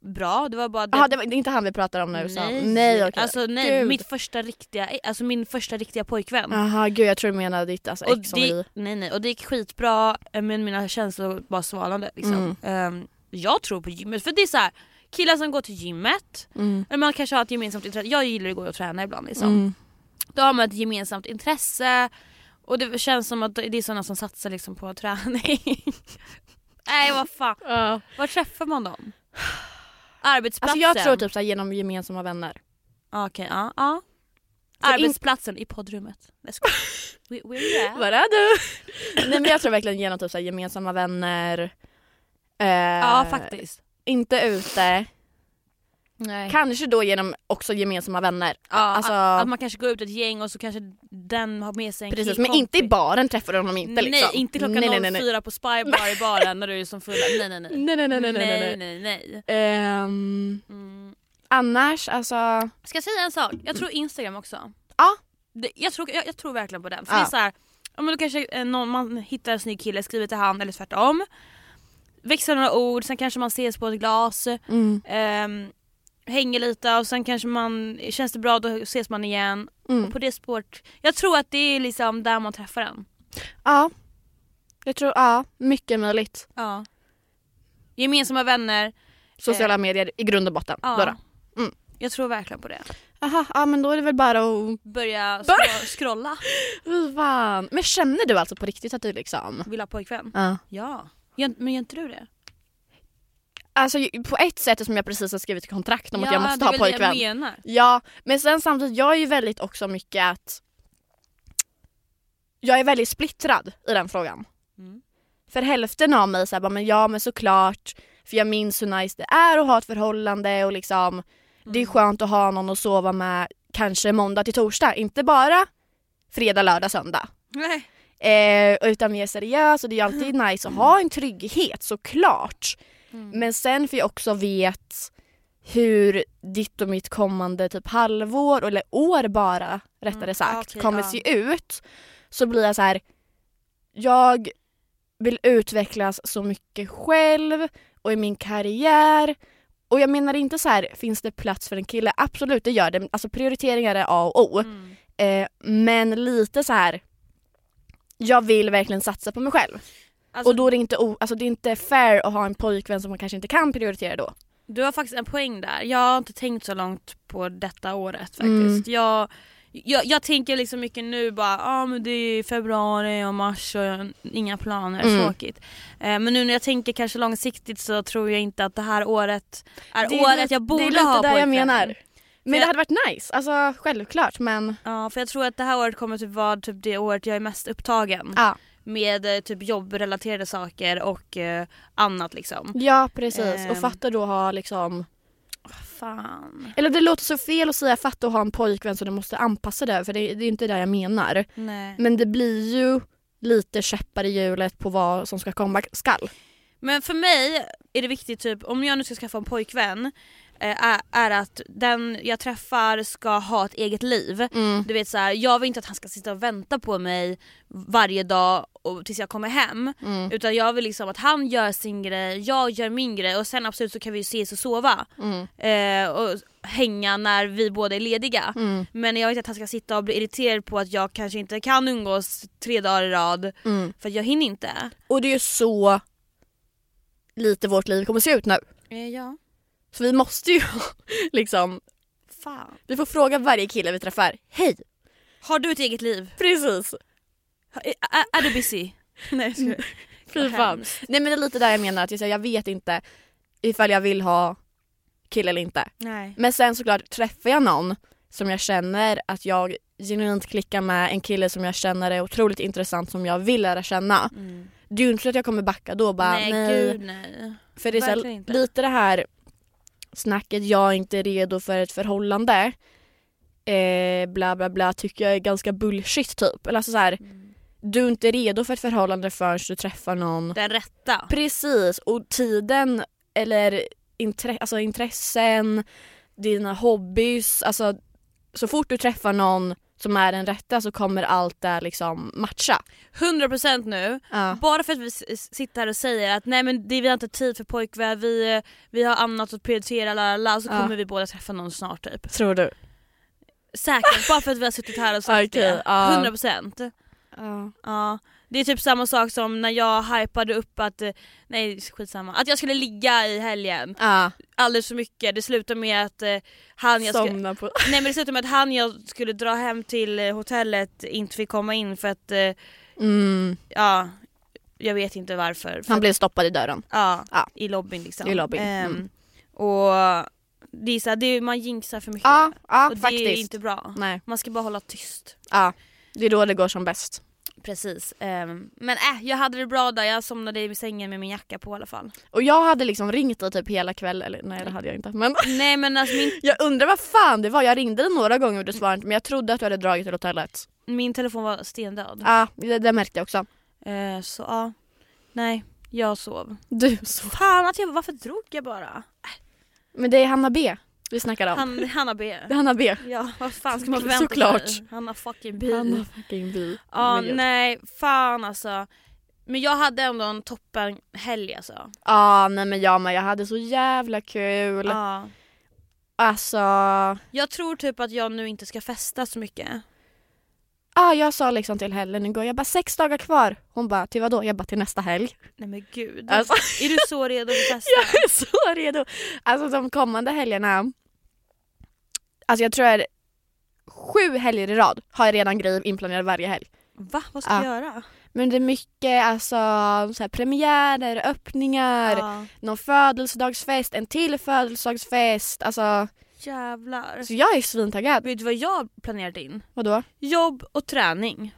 Speaker 2: Bra, det var bara det.
Speaker 1: Jaha, det var det är inte han vi pratar om nu. Så.
Speaker 2: nej,
Speaker 1: nej okej.
Speaker 2: alltså nej,
Speaker 1: Gud.
Speaker 2: mitt första riktiga, alltså min första riktiga pojkvän.
Speaker 1: Jaha, gud jag tror du menar ditt alltså,
Speaker 2: och
Speaker 1: ex som vi...
Speaker 2: det, nej, nej, och det gick skitbra eh, men mina känslor var svalande.
Speaker 1: Mm.
Speaker 2: Liksom. Ehm, jag tror på gymmet för det är så här, killar som går till gymmet,
Speaker 1: Mm.
Speaker 2: eller man kanske har ett gemensamt intresse, jag gillar att gå och träna ibland liksom.
Speaker 1: Mm.
Speaker 2: Då har man ett gemensamt intresse och det känns som att det är sådana som satsar liksom, på träning. nej vad fan,
Speaker 1: Ja.
Speaker 2: var träffar man dem? Arbetsplatsen?
Speaker 1: Alltså jag tror typ så här, genom gemensamma vänner.
Speaker 2: Ah, Okej, ja. ja.
Speaker 1: in-
Speaker 2: Arbetsplatsen i poddrummet. Let's go. We, we're there.
Speaker 1: Var är du? Nej men jag tror verkligen genom typ så här, gemensamma vänner. Eh,
Speaker 2: Ja faktiskt.
Speaker 1: Inte ute.
Speaker 2: Nej.
Speaker 1: Kanske då genom också gemensamma vänner.
Speaker 2: Ja,
Speaker 1: Alltså-
Speaker 2: att, att man kanske går ut ett gäng och så kanske den har med sig en
Speaker 1: Precis,
Speaker 2: killkompis.
Speaker 1: men inte i baren träffar du honom inte liksom.
Speaker 2: Nej, inte klockan
Speaker 1: nej, nej, nej, nej.
Speaker 2: 04 på Spybar i baren när du är som full. Nej, nej, nej.
Speaker 1: Nej, nej, nej, nej, nej, nej. nej.
Speaker 2: nej, nej.
Speaker 1: Ehm,
Speaker 2: Mm.
Speaker 1: annars, alltså...
Speaker 2: Ska jag säga en sak? Jag tror Instagram också.
Speaker 1: Ja.
Speaker 2: Det, jag, tror, jag, jag tror verkligen på den. För
Speaker 1: Ja.
Speaker 2: det är så här, ja, men då kanske eh, någon, man hittar en snygg kille, skriver till han eller tvärtom. Växlar några ord, sen kanske man ses på ett glas. ehm, hänger lite och sen kanske man, känns det bra då ses man igen.
Speaker 1: Mm.
Speaker 2: På det spåret, jag tror att det är liksom där man träffar den.
Speaker 1: Ja. Jag tror, ja, mycket möjligt.
Speaker 2: Ja. Gemensamma vänner.
Speaker 1: Sociala medier i grund och botten.
Speaker 2: Eh. Ja.
Speaker 1: Då då. Mm.
Speaker 2: Jag tror verkligen på det.
Speaker 1: Aha, ja men då är det väl bara att...
Speaker 2: Börja skro- scrolla.
Speaker 1: Fy fan. Men känner du alltså på riktigt att du liksom...
Speaker 2: Vill ha pojkvän?
Speaker 1: Ja.
Speaker 2: Ja. Gör- Men gör inte du det?
Speaker 1: alltså, på ett sätt är som jag precis har skrivit kontrakt om att jag måste ha
Speaker 2: det är väl
Speaker 1: pojkvän.
Speaker 2: Det jag menar.
Speaker 1: Ja, men sen samtidigt, jag är ju väldigt också mycket att jag är väldigt splittrad i den frågan.
Speaker 2: Mm.
Speaker 1: För hälften av mig säger bara, men ja men såklart, för jag minns hur nice det är att ha ett förhållande och liksom det är skönt att ha någon att sova med kanske måndag till torsdag, inte bara fredag, lördag, söndag.
Speaker 2: Nej.
Speaker 1: Eh, utan mer seriös och det är ju alltid nice att ha en trygghet såklart.
Speaker 2: Mm.
Speaker 1: Men sen för jag också vet hur ditt och mitt kommande typ halvår eller år bara rättare
Speaker 2: Mm,
Speaker 1: sagt
Speaker 2: okej,
Speaker 1: kommer
Speaker 2: ja.
Speaker 1: se ut så blir jag så här. jag vill utvecklas så mycket själv och i min karriär och jag menar inte så här finns det plats för en kille? Absolut det gör det, alltså prioriteringar är A och O.
Speaker 2: Mm.
Speaker 1: Eh, men lite så här. jag vill verkligen satsa på mig själv.
Speaker 2: Alltså,
Speaker 1: och då är det, inte o- alltså, det är inte fair att ha en pojkvän som man kanske inte kan prioritera då.
Speaker 2: Du har faktiskt en poäng där. Jag har inte tänkt så långt på detta året faktiskt.
Speaker 1: Mm.
Speaker 2: Jag, jag, jag tänker liksom mycket nu bara, ah, men det är februari och mars och jag har inga planer,
Speaker 1: Mm.
Speaker 2: tråkigt. Eh, men nu när jag tänker kanske långsiktigt så tror jag inte att det här året är
Speaker 1: Det är
Speaker 2: året
Speaker 1: lite-
Speaker 2: jag borde
Speaker 1: det
Speaker 2: ha
Speaker 1: är lite där jag
Speaker 2: pojkvän.
Speaker 1: menar. Men
Speaker 2: jag- Mm.
Speaker 1: det hade varit nice, alltså självklart men
Speaker 2: Ja för jag tror att det här året kommer typ vara typ det året jag är mest upptagen.
Speaker 1: Ja.
Speaker 2: Med eh, typ jobbrelaterade saker och eh, annat liksom.
Speaker 1: ja precis.
Speaker 2: Ehm.
Speaker 1: Och fatta då att ha liksom,
Speaker 2: Fan.
Speaker 1: eller det låter så fel att säga fatta att ha en pojkvän så du måste anpassa dig för det, det är ju inte det jag menar.
Speaker 2: Nej.
Speaker 1: Men det blir ju lite käppar i hjulet på vad som ska komma skall.
Speaker 2: Men för mig är det viktigt, typ, om jag nu ska skaffa en pojkvän, eh, är, är att den jag träffar ska ha ett eget liv.
Speaker 1: Mm,
Speaker 2: Du vet så här, jag vill inte att han ska sitta och vänta på mig varje dag och, tills jag kommer hem.
Speaker 1: Mm.
Speaker 2: Utan jag vill liksom att han gör sin grej, jag gör min grej och sen absolut så kan vi ju ses och sova.
Speaker 1: Mm.
Speaker 2: Eh, och hänga när vi båda är lediga.
Speaker 1: Mm.
Speaker 2: Men jag vet att han ska sitta och bli irriterad på att jag kanske inte kan umgås tre dagar i rad
Speaker 1: Mm.
Speaker 2: för att jag hinner inte.
Speaker 1: Och det är ju så lite vårt liv kommer se ut nu.
Speaker 2: ja.
Speaker 1: Så vi måste ju liksom,
Speaker 2: Fan.
Speaker 1: vi får fråga varje kille vi träffar. Hej!
Speaker 2: Har du ett eget liv?
Speaker 1: Precis!
Speaker 2: Är, är, är du busy? Mm. Nej jag
Speaker 1: Fy fan. Nej men det är lite där jag menar att jag, säger, jag vet inte ifall jag vill ha kille eller inte.
Speaker 2: Nej.
Speaker 1: Men sen såklart träffar jag någon som jag känner att jag genuint klickar med, en kille som jag känner är otroligt intressant som jag vill lära känna. Det är ju inte så att jag kommer backa då och bara nej.
Speaker 2: Mm. nej, gud nej.
Speaker 1: för det är så här,
Speaker 2: verkligen inte.
Speaker 1: lite det här snacket jag är inte redo för ett förhållande. Eh, bla bla bla tycker jag är ganska bullshit typ. Eller alltså så här,
Speaker 2: Mm.
Speaker 1: du är inte redo för ett förhållande förrän du träffar någon
Speaker 2: Den rätta.
Speaker 1: Precis, och tiden eller intre- alltså intressen, dina hobbys, alltså så fort du träffar någon som är den rätta så kommer allt där liksom matcha.
Speaker 2: 100% nu.
Speaker 1: Ja.
Speaker 2: Bara för att vi s- s- sitter här och säger att nej men det, vi har inte tid för pojkvän, vi, eh, vi har annat att prioritera, la, la, la, så
Speaker 1: Ja.
Speaker 2: kommer vi båda träffa någon snart typ.
Speaker 1: Tror du?
Speaker 2: Säkert, bara för att vi har suttit här och sagt
Speaker 1: Okej,
Speaker 2: det.
Speaker 1: ja.
Speaker 2: 100%.
Speaker 1: Ja.
Speaker 2: Ja, det är typ samma sak som när jag hypade upp att, eh, nej skitsamma, att jag skulle ligga i helgen alldeles för mycket. Det slutade med att eh, han jag skulle,
Speaker 1: Somna på...
Speaker 2: nej men det slutade med att han jag skulle dra hem till eh, hotellet inte fick komma in för att, eh,
Speaker 1: Mm.
Speaker 2: ja, jag vet inte varför. För,
Speaker 1: Han blev stoppad i dörren.
Speaker 2: ja,
Speaker 1: Ja.
Speaker 2: i lobbyn liksom.
Speaker 1: I lobbyn,
Speaker 2: Ehm,
Speaker 1: mm.
Speaker 2: Och det är så här, det är, man jinxar för mycket.
Speaker 1: Ja, ja
Speaker 2: och det
Speaker 1: faktiskt.
Speaker 2: är inte bra.
Speaker 1: Nej.
Speaker 2: Man ska bara hålla tyst.
Speaker 1: Ja. Det är då det går som bäst.
Speaker 2: Precis. Ehm, men äh, jag hade det bra där, jag somnade i sängen med min jacka på i alla fall.
Speaker 1: Och jag hade liksom ringt dig typ hela kvällen, eller nej det hade jag inte men
Speaker 2: Nej men alltså min,
Speaker 1: jag undrar vad fan det var, jag ringde dig några gånger och du svarade inte men jag trodde att du hade dragit till hotellet.
Speaker 2: min telefon var stendöd.
Speaker 1: Ja, det, det märkte jag också.
Speaker 2: Ehm, så ja, nej jag sov.
Speaker 1: Du så.
Speaker 2: Fan att jag, varför drog jag bara?
Speaker 1: Men det är Hanna B vi snackar om.
Speaker 2: Han, Hanna B.
Speaker 1: det är Hanna B.
Speaker 2: Ja vad fan ska man förvänta
Speaker 1: Såklart.
Speaker 2: sig? Hanna fucking B.
Speaker 1: Hanna fucking B.
Speaker 2: Ja nej fan alltså. Men jag hade ändå en toppen helg alltså.
Speaker 1: Ja, nej men jag med. Jag hade så jävla kul.
Speaker 2: Ja.
Speaker 1: Alltså,
Speaker 2: Jag tror typ att jag nu inte ska festa så mycket.
Speaker 1: ja, jag sa liksom till Helen igår, jag bara sex dagar kvar. Hon bara till vadå? Jag bara till nästa helg.
Speaker 2: Nej men gud.
Speaker 1: Alltså,
Speaker 2: Är du så redo att festa?
Speaker 1: jag är så redo. Alltså de kommande helgerna. Alltså jag tror jag är sju helger i rad har jag redan grejer inplanerade varje helg.
Speaker 2: Va? Vad ska
Speaker 1: Ja.
Speaker 2: jag göra?
Speaker 1: Men det är mycket alltså, så här, premiärer, öppningar,
Speaker 2: Ja.
Speaker 1: någon födelsedagsfest, en till födelsedagsfest. Alltså,
Speaker 2: Jävlar.
Speaker 1: så jag är svintaggad.
Speaker 2: Vet du vad jag planerade in?
Speaker 1: Vadå?
Speaker 2: Jobb och träning.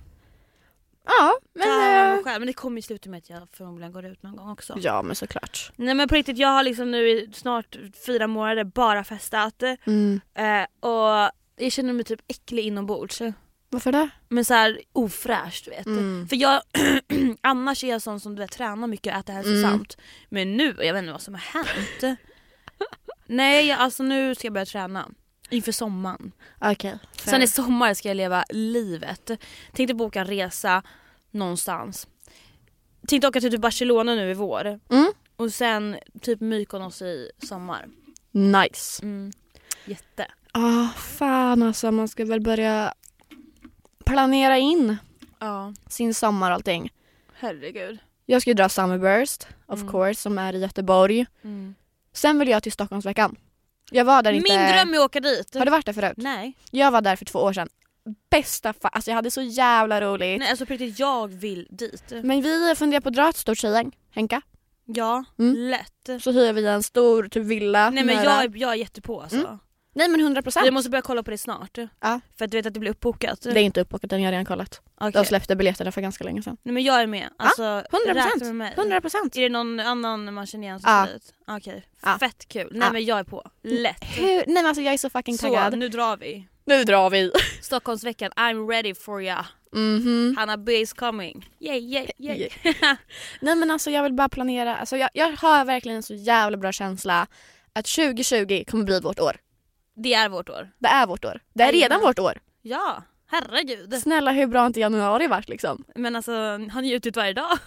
Speaker 1: Ja, men...
Speaker 2: Men,
Speaker 1: eh,
Speaker 2: själv. men det kommer ju sluta med att jag förmodligen går ut någon gång också.
Speaker 1: Ja, men såklart.
Speaker 2: Nej men på riktigt, jag har liksom nu i snart fyra månader bara festat.
Speaker 1: Mm.
Speaker 2: Eh, och jag känner mig typ äcklig inombords.
Speaker 1: Varför det?
Speaker 2: Men så här ofräsch du vet.
Speaker 1: Mm.
Speaker 2: För jag, annars är jag sån som du vet tränar mycket och äter hälsosamt. Men nu, jag vet inte vad som har hänt. Nej jag, alltså nu ska jag börja träna. Inför sommaren.
Speaker 1: Okej.
Speaker 2: Sen i sommar ska jag leva livet. Tänkte boka en resa någonstans. Tänkte åka till typ Barcelona nu i vår.
Speaker 1: Mm.
Speaker 2: Och sen typ Mykonos i sommar.
Speaker 1: Nice.
Speaker 2: Mm. Jätte.
Speaker 1: Ah, fan alltså. Man ska väl börja planera in
Speaker 2: Ja,
Speaker 1: sin sommar och allting.
Speaker 2: herregud.
Speaker 1: Jag ska ju dra Summerburst, of
Speaker 2: Mm.
Speaker 1: course, som är i Göteborg.
Speaker 2: Mm.
Speaker 1: Sen vill jag till Stockholmsveckan. Jag var där
Speaker 2: Min
Speaker 1: inte...
Speaker 2: dröm är att åka dit.
Speaker 1: Har du varit där förut?
Speaker 2: Nej.
Speaker 1: Jag var där för två år sedan. Bästa fa- Alltså jag hade så jävla roligt.
Speaker 2: Nej, alltså på riktigt jag vill dit.
Speaker 1: Men vi funderar på att dra ett stort tjejgäng, Henka.
Speaker 2: Ja,
Speaker 1: Mm.
Speaker 2: lätt.
Speaker 1: Så hyr vi en stor typ villa.
Speaker 2: Nej men
Speaker 1: nära-
Speaker 2: jag, är- jag är jättepå alltså.
Speaker 1: Mm. Nej men 100
Speaker 2: Vi
Speaker 1: procent.
Speaker 2: måste börja kolla på det snart.
Speaker 1: Ja.
Speaker 2: För att du vet att det blir uppbokat.
Speaker 1: Det är inte uppbokat än, jag har redan kollat.
Speaker 2: Okej.
Speaker 1: De släppte biljetterna för ganska länge sedan.
Speaker 2: Nej men jag är med. Alltså,
Speaker 1: 100%.
Speaker 2: räkna med mig.
Speaker 1: 100 procent.
Speaker 2: Är det någon annan man känner igen som
Speaker 1: Ja.
Speaker 2: ska dit? Okej,
Speaker 1: Ja.
Speaker 2: fett kul. Nej
Speaker 1: Ja.
Speaker 2: men jag är på. Lätt.
Speaker 1: Hur? Nej men alltså jag är så fucking
Speaker 2: Så
Speaker 1: taggad.
Speaker 2: nu drar vi.
Speaker 1: Nu drar vi.
Speaker 2: Stockholmsveckan, I'm ready for ya.
Speaker 1: Mhm.
Speaker 2: Hanna B is coming. Yay, yay, yay.
Speaker 1: Nej men alltså jag vill bara planera. Alltså, jag, jag har verkligen en så jävla bra känsla att 2020 kommer bli vårt år.
Speaker 2: Det är vårt år.
Speaker 1: Det är vårt år. Det är redan
Speaker 2: Jajamän.
Speaker 1: vårt år.
Speaker 2: Ja, herregud.
Speaker 1: Snälla hur bra har inte januari varit liksom?
Speaker 2: Men alltså har ni njutit varje dag?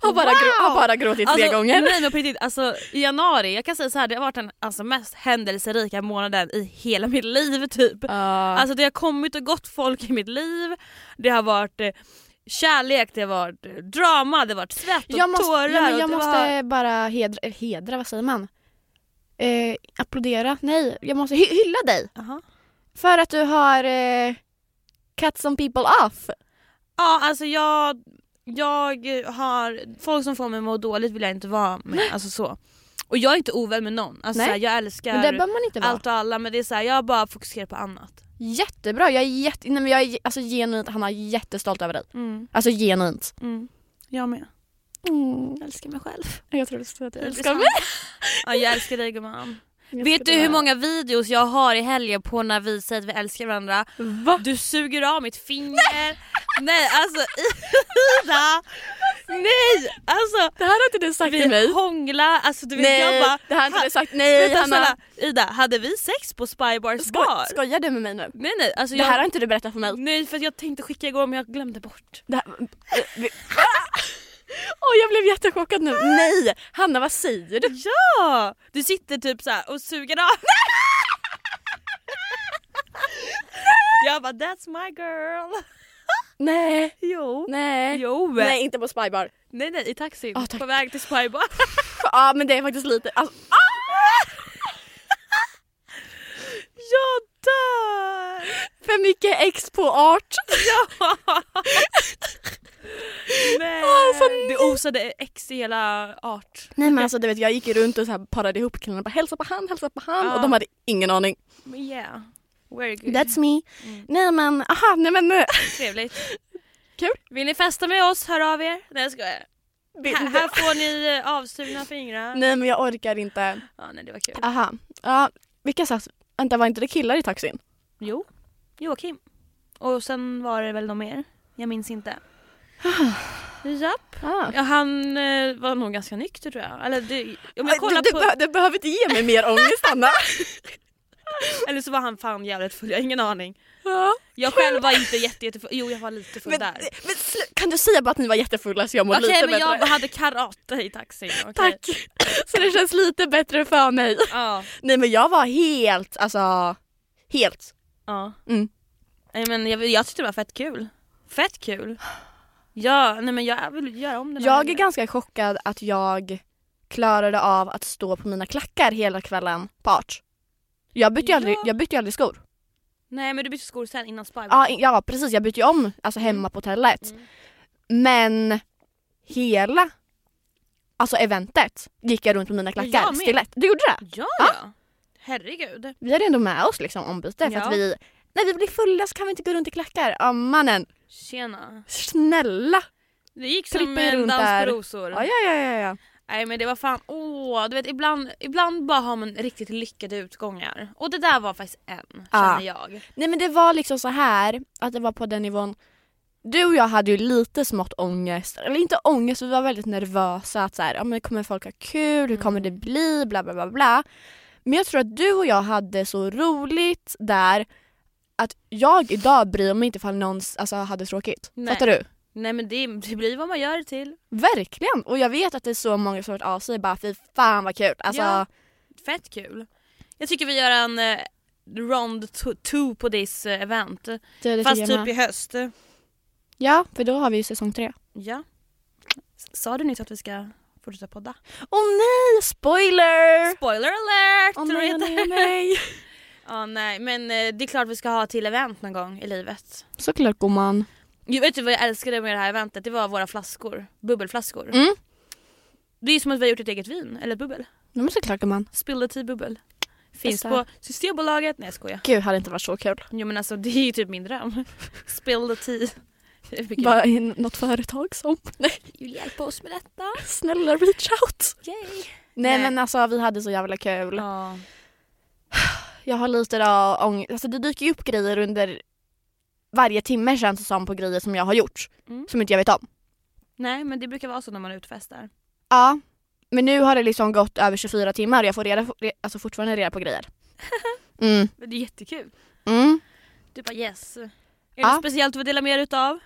Speaker 1: Har bara, grå- har bara gråtit
Speaker 2: Alltså,
Speaker 1: tre gånger.
Speaker 2: Nej men på riktigt, alltså i januari, jag kan säga så här, det har varit den alltså, mest händelserika månaden i hela mitt liv typ.
Speaker 1: Ja.
Speaker 2: Alltså det har kommit och gått folk i mitt liv, det har varit eh, kärlek, det har varit eh, drama, det har varit svett och
Speaker 1: jag måste,
Speaker 2: tårar.
Speaker 1: ja, men jag
Speaker 2: och det
Speaker 1: måste
Speaker 2: Var...
Speaker 1: bara hedra, eller hedra, vad säger man? Eh, applådera? Nej, jag måste hy- hylla dig
Speaker 2: Jaha.
Speaker 1: för att du har eh, cut some people off.
Speaker 2: Ja alltså jag, jag har, folk som får mig att må dåligt vill jag inte vara med, alltså så. Och jag är inte ovän med någon, alltså,
Speaker 1: Nej.
Speaker 2: så här, jag älskar
Speaker 1: Men det behöver man inte vara.
Speaker 2: allt och alla men det är så här, jag bara fokuserar på annat.
Speaker 1: Jättebra, jag är, jätte, nej, men jag är alltså, genuint Hanna, jättestolt över dig.
Speaker 2: Mm,
Speaker 1: Alltså genuint.
Speaker 2: mm. Jag med,
Speaker 1: Mm,
Speaker 2: jag älskar mig själv.
Speaker 1: Jag tror du att jag
Speaker 2: Älskar mig? Ja, jag älskar dig gumman.
Speaker 1: Jag
Speaker 2: Vet
Speaker 1: ska
Speaker 2: du hur
Speaker 1: dö.
Speaker 2: många videos jag har i helgen på när vi säger att vi älskar varandra?
Speaker 1: Va?
Speaker 2: Du suger av mitt finger. Nej, alltså Ida! Nej! Alltså
Speaker 1: Det här har inte du sagt till mig.
Speaker 2: vi hånglar, alltså du vet
Speaker 1: nej,
Speaker 2: jag bara...
Speaker 1: det här har inte
Speaker 2: ha-
Speaker 1: du sagt. Nej
Speaker 2: Vänta
Speaker 1: Hanna.
Speaker 2: snälla, Ida hade vi sex på Spybars bar?
Speaker 1: Sko- skojar du med mig nu?
Speaker 2: Nej nej alltså
Speaker 1: Det
Speaker 2: jag...
Speaker 1: här har inte du berättat för mig.
Speaker 2: Nej för att jag tänkte skicka igår men jag glömde bort.
Speaker 1: Det här... Ah! Åh, jag blev jättechockad nu. Nej! Hanna, vad säger du?
Speaker 2: Ja! Du sitter typ så här och suger av. Jag bara that's my girl.
Speaker 1: Nej.
Speaker 2: Jo.
Speaker 1: Nej.
Speaker 2: Jo.
Speaker 1: Nej, inte på Spybar.
Speaker 2: Nej nej i taxin
Speaker 1: Ah, tack.
Speaker 2: på väg till Spybar.
Speaker 1: Ja, ah, men det är faktiskt lite... Alltså,
Speaker 2: Jag dör!
Speaker 1: för mycket X på art.
Speaker 2: Nej.
Speaker 1: Alltså,
Speaker 2: det osade ex i hela art.
Speaker 1: Nej men alltså du vet jag gick runt och så här parade ihop killarna bara hälsa på han, hälsa på han
Speaker 2: Ja.
Speaker 1: och de hade ingen aning.
Speaker 2: Men yeah. Very good.
Speaker 1: That's me.
Speaker 2: Mm.
Speaker 1: Nej men, aha, nej men nu.
Speaker 2: Trevligt.
Speaker 1: Kul.
Speaker 2: Vill ni festa med oss, hör av er. Nej jag skojar. Här, här får ni eh, avsugna fingrar.
Speaker 1: Nej men jag orkar inte.
Speaker 2: Ja, nej det var kul.
Speaker 1: Aha. Ja, vilka satt? Vänta var inte det killar i taxin?
Speaker 2: Jo, Joakim. Och sen var det väl någon mer. Jag minns inte. Japp.
Speaker 1: Ah.
Speaker 2: Ja, han eh, var nog ganska nykter tror jag. Eller, det, om jag
Speaker 1: Äh, Du,
Speaker 2: kollar
Speaker 1: du,
Speaker 2: på,
Speaker 1: beh- du behöver inte ge mig mer ångest Hanna.
Speaker 2: eller så var han fan jävligt full, jag har ingen aning.
Speaker 1: Ja.
Speaker 2: Jag själv var inte jätte, jättefull, jo jag var lite full
Speaker 1: Men,
Speaker 2: där.
Speaker 1: men slu- kan du säga bara att ni var jättefulla så jag mår
Speaker 2: Okej
Speaker 1: lite
Speaker 2: men
Speaker 1: bättre?
Speaker 2: jag hade karate i taxin. okej.
Speaker 1: Tack! Så det känns lite bättre för mig.
Speaker 2: Ja.
Speaker 1: Nej men jag var helt, alltså helt.
Speaker 2: ja.
Speaker 1: Mm.
Speaker 2: Nej, men jag, jag tyckte det var fett kul. Fett kul. Ja, nej men jag vill göra om det där.
Speaker 1: Jag är ganska chockad att jag klarade av att stå på mina klackar hela kvällen på art. Jag bytte ju aldrig,
Speaker 2: Ja.
Speaker 1: jag bytte ju aldrig skor.
Speaker 2: Nej men du bytte skor sen innan Spy.
Speaker 1: Mm. Ja, ja precis, jag bytte ju om alltså hemma på hotellet.
Speaker 2: Mm.
Speaker 1: Men hela alltså eventet gick jag runt med mina klackar.
Speaker 2: Jag med.
Speaker 1: Stilett. Du gjorde det?
Speaker 2: Ja, ja. Herregud.
Speaker 1: Vi hade ändå med oss liksom ombyte för
Speaker 2: Ja.
Speaker 1: att vi, när vi blir fulla så kan vi inte gå runt i klackar. Ja mannen,
Speaker 2: Tjena.
Speaker 1: snälla!
Speaker 2: Det gick som
Speaker 1: Trippar
Speaker 2: en
Speaker 1: runt
Speaker 2: dans
Speaker 1: där.
Speaker 2: på rosor.
Speaker 1: Ja ja ja ja. ja.
Speaker 2: Nej men det var fan, åh, du vet ibland, ibland bara har man riktigt lyckade utgångar. Och det där var faktiskt en,
Speaker 1: Ja.
Speaker 2: känner jag.
Speaker 1: Nej men det var liksom så här att det var på den nivån du och jag hade ju lite smått ångest, eller inte ångest, vi var väldigt nervösa att så här, ja, men kommer folk ha kul, hur kommer det
Speaker 2: Mm.
Speaker 1: bli, bla bla bla bla. Men jag tror att du och jag hade så roligt där att jag idag bryr mig inte ifall någon alltså, hade tråkigt.
Speaker 2: Nej.
Speaker 1: Fattar du?
Speaker 2: Nej men det, det blir vad man gör det till.
Speaker 1: Verkligen! Och jag vet att det är så många som har hört av sig bara fy fan vad kul. Alltså,
Speaker 2: Ja. Fett kul. Jag tycker vi gör en eh, round to- two på this eh, event.
Speaker 1: det, det
Speaker 2: Fast
Speaker 1: tycker jag
Speaker 2: typ
Speaker 1: med.
Speaker 2: i höst.
Speaker 1: Ja, för då har vi ju säsong tre.
Speaker 2: Ja. S- Sa du nyss att vi ska fortsätta podda?
Speaker 1: Åh nej, spoiler!
Speaker 2: Spoiler alert!
Speaker 1: Åh
Speaker 2: tror
Speaker 1: nej,
Speaker 2: jag
Speaker 1: åh
Speaker 2: det
Speaker 1: nej, åh
Speaker 2: heter.
Speaker 1: nej.
Speaker 2: Ja, nej men eh, det är klart vi ska ha till event någon gång i livet.
Speaker 1: Såklart gumman.
Speaker 2: Jag vet du vad jag älskade med det här eventet? Det var våra flaskor. Bubbelflaskor.
Speaker 1: Mm.
Speaker 2: Det är som att vi har gjort ett eget vin, eller bubbel.
Speaker 1: Ja, men såklart gumman.
Speaker 2: Spill the tea bubbel. Finns
Speaker 1: Bästa.
Speaker 2: på Systembolaget. Nej jag skojar.
Speaker 1: Gud, hade inte varit så kul.
Speaker 2: Jo men alltså det är ju typ min dröm. Spill the tea. Det är mycket-
Speaker 1: Bara i något företag som, nej
Speaker 2: Vill hjälpa oss med detta?
Speaker 1: snälla reach out.
Speaker 2: Yay.
Speaker 1: Nej,
Speaker 2: Nej.
Speaker 1: men alltså vi hade så jävla kul.
Speaker 2: Ja.
Speaker 1: Jag har lite då ångest, alltså det dyker ju upp grejer under varje timme känns det som på grejer som jag har gjort.
Speaker 2: Mm.
Speaker 1: Som inte jag vet om.
Speaker 2: Nej men det brukar vara så när man utfestar.
Speaker 1: Ja. Men nu har det liksom gått över 24 timmar och jag får reda, re- alltså fortfarande reda på grejer. Mm.
Speaker 2: Men det är jättekul.
Speaker 1: Mm.
Speaker 2: Du bara yes. Är det
Speaker 1: Ja.
Speaker 2: något speciellt du vill dela med dig utav?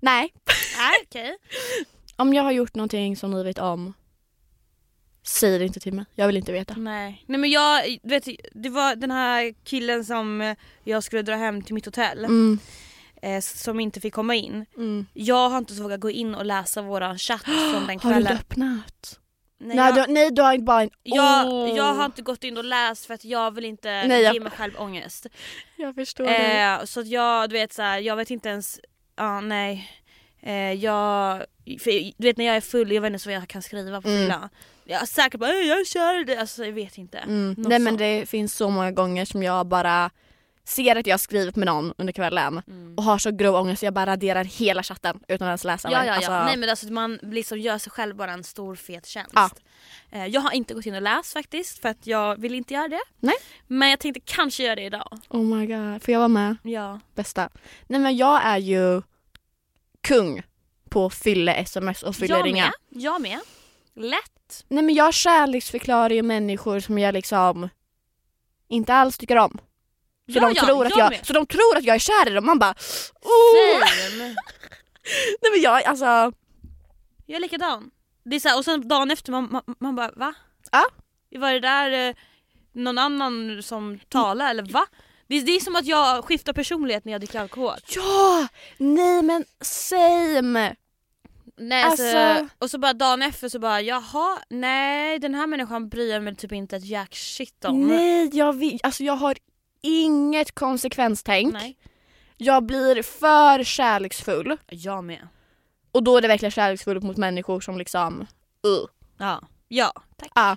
Speaker 1: Nej.
Speaker 2: Nej okej.
Speaker 1: Om jag har gjort någonting som ni vet om, säg det inte till mig. Jag vill inte veta.
Speaker 2: Nej. Nej men jag, du vet det var den här killen som eh, jag skulle dra hem till mitt hotell
Speaker 1: Mm.
Speaker 2: eh, som inte fick komma in.
Speaker 1: Mm.
Speaker 2: Jag har inte så vågat gå in och läsa våran chatt från den
Speaker 1: Har du inte
Speaker 2: kvällen.
Speaker 1: öppnat?
Speaker 2: Nej,
Speaker 1: Nej,
Speaker 2: jag,
Speaker 1: du, nej du har inte bara en
Speaker 2: jag,
Speaker 1: Åh.
Speaker 2: jag har inte gått in och läst för att jag vill inte
Speaker 1: Nej, jag-
Speaker 2: ge mig själv ångest.
Speaker 1: Jag förstår dig.
Speaker 2: Eh, så att jag, du vet så här, jag vet inte ens, ja nej. Eh, jag, för, du vet när jag är full, jag vet inte ens vad jag kan skriva på
Speaker 1: Mm.
Speaker 2: fyllan. Jag är säkert bara "Ey, jag kör det, alltså jag vet inte.
Speaker 1: Mm.
Speaker 2: något
Speaker 1: Nej men
Speaker 2: sånt.
Speaker 1: det finns så många gånger som jag bara ser att jag har skrivit med någon under kvällen
Speaker 2: Mm.
Speaker 1: och har så grov ångest så jag bara raderar hela chatten utan att ens läsa
Speaker 2: Ja ja
Speaker 1: den.
Speaker 2: ja,
Speaker 1: Alltså,
Speaker 2: nej men alltså man liksom gör sig själv bara en stor fet tjänst.
Speaker 1: Ja.
Speaker 2: Eh, jag har inte gått in och läst faktiskt för att jag vill inte göra det.
Speaker 1: Nej.
Speaker 2: Men jag tänkte kanske göra det idag.
Speaker 1: Oh my god, får jag vara med?
Speaker 2: Ja.
Speaker 1: Bästa. Nej men jag är ju kung på fylle-sms och
Speaker 2: Jag
Speaker 1: fylleringar.
Speaker 2: med, jag med. Lätt.
Speaker 1: Nej men jag kärleksförklarar ju människor som jag liksom inte alls tycker om. Så,
Speaker 2: ja,
Speaker 1: de,
Speaker 2: ja,
Speaker 1: tror att jag,
Speaker 2: med.
Speaker 1: så de tror att jag är kär i dem. Man bara oh!
Speaker 2: Same.
Speaker 1: Nej men jag alltså
Speaker 2: Jag är likadan. Det är så här, och sen dagen efter man, man, man bara va?
Speaker 1: Ja.
Speaker 2: Var det där eh, någon annan som talade eller va? Det, är- det är som att jag skiftar personlighet när jag dricker alkohol.
Speaker 1: Ja! Nej men same!
Speaker 2: Nej, alltså,
Speaker 1: Alltså-
Speaker 2: Och så bara dagen efter så bara jaha, nej den här människan bryr jag mig typ inte ett jack shit om.
Speaker 1: Nej jag vill, alltså jag har inget konsekvenstänk.
Speaker 2: nej.
Speaker 1: Jag blir för kärleksfull
Speaker 2: Jag med.
Speaker 1: och då är det verkligen kärleksfull mot människor som liksom uh.
Speaker 2: Ja, ja tack.
Speaker 1: Ja.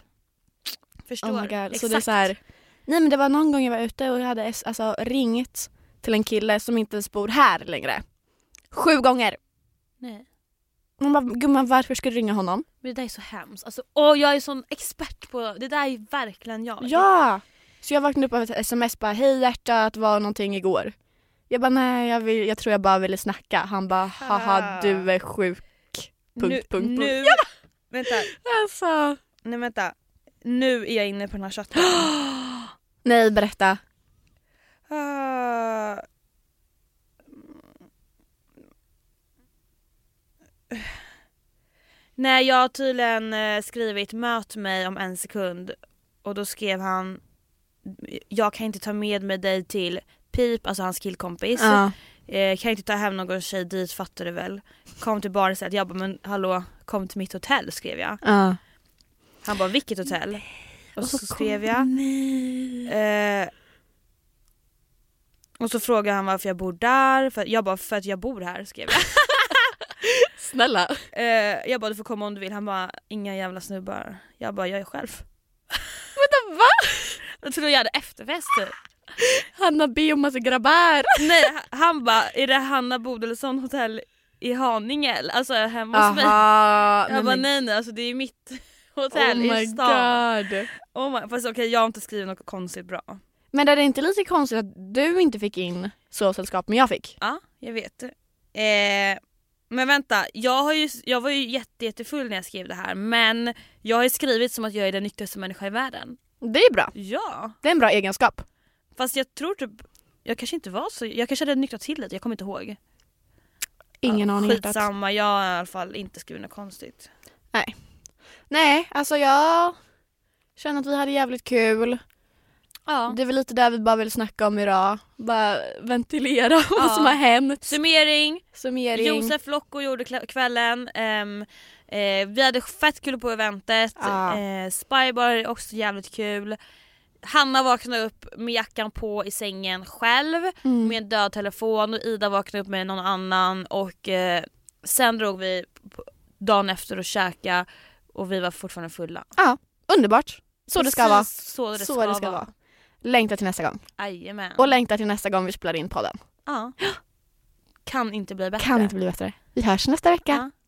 Speaker 2: Förstår.
Speaker 1: Oh my god. Så det är så här, nej men det var någon gång jag var ute och jag hade s- alltså, ringt till en kille som inte ens bor här längre. Sju gånger.
Speaker 2: Nej.
Speaker 1: Man bara, gumman varför ska du ringa honom?
Speaker 2: Men det där är så hemskt. Alltså, åh, jag är sån expert på, det där är verkligen jag.
Speaker 1: Ja! Så jag vaknade upp av ett sms bara hej hjärtat, var någonting igår? Jag bara nej jag, vill, jag tror jag bara ville snacka. Han bara haha du är sjuk. punkt,
Speaker 2: nu,
Speaker 1: punkt, punkt.
Speaker 2: Nu, vänta,
Speaker 1: Alltså.
Speaker 2: Nej vänta. Nu är jag inne på den här chatten.
Speaker 1: Nej berätta.
Speaker 2: Ah. Nej jag har tydligen eh, skrivit möt mig om en sekund och då skrev han jag kan inte ta med mig dig till Pip, alltså hans killkompis.
Speaker 1: Ja.
Speaker 2: Eh, kan inte ta hem någon tjej dit fattar du väl. Kom till barset, jag bara men hallå kom till mitt hotell skrev jag.
Speaker 1: ja.
Speaker 2: Han bara vilket hotell? Och, så, skrev
Speaker 1: kom-
Speaker 2: jag.
Speaker 1: Nej.
Speaker 2: Eh, och så frågade han varför jag bor där, för jag bara för att jag bor här skrev jag.
Speaker 1: Snälla.
Speaker 2: Eh, jag bara du får komma om du vill, han bara inga jävla snubbar. Jag bara jag är själv.
Speaker 1: Vänta va?
Speaker 2: Jag trodde jag hade efterfest typ.
Speaker 1: Hanna B och massa grabbar.
Speaker 2: Nej han- han bara är det Hanna Bodilsson hotell i Haninge eller? Alltså hemma hos mig.
Speaker 1: Aha.
Speaker 2: Jag bara
Speaker 1: men-
Speaker 2: nej nej alltså det är mitt
Speaker 1: Oh
Speaker 2: hotell
Speaker 1: my
Speaker 2: i stan.
Speaker 1: god.
Speaker 2: Oh my, fast okej jag har inte skrivit något konstigt bra.
Speaker 1: Men är det inte lite konstigt att du inte fick in sovsällskap men jag fick?
Speaker 2: Ja, jag vet. Eh, men vänta, jag, har ju, jag var ju jätte, jättefull när jag skrev det här men jag har ju skrivit som att jag är den nyktraste människan i världen.
Speaker 1: Det är bra.
Speaker 2: Ja,
Speaker 1: Det är en bra egenskap.
Speaker 2: fast jag tror typ jag kanske inte var så, jag kanske hade nyktrat till det, jag kommer inte ihåg.
Speaker 1: Ingen
Speaker 2: ja,
Speaker 1: aning hjärtat.
Speaker 2: Skitsamma, jag har i alla fall inte skrivit något konstigt.
Speaker 1: Nej, alltså jag känner att vi hade jävligt kul.
Speaker 2: Ja.
Speaker 1: Det är väl lite det vi bara vill snacka om idag. Bara ventilera vad som har hänt.
Speaker 2: Summering,
Speaker 1: Summering.
Speaker 2: Josef Locko gjorde kla- kvällen, ehm, eh, vi hade fett kul på eventet,
Speaker 1: Ja.
Speaker 2: eh, Spybar är också jävligt kul. Hanna vaknade upp med jackan på i sängen själv
Speaker 1: Mm.
Speaker 2: med en död telefon och Ida vaknade upp med någon annan och eh, sen drog vi på- dagen efter och käka och vi var fortfarande fulla.
Speaker 1: Underbart. Så det ska vara.
Speaker 2: Så det ska,
Speaker 1: Så det ska vara. Längta till nästa gång.
Speaker 2: Jajamän.
Speaker 1: Och längta till nästa gång vi spelar in podden.
Speaker 2: Ja. Kan inte bli bättre.
Speaker 1: Kan inte bli bättre. Vi hörs nästa vecka.
Speaker 2: Ja.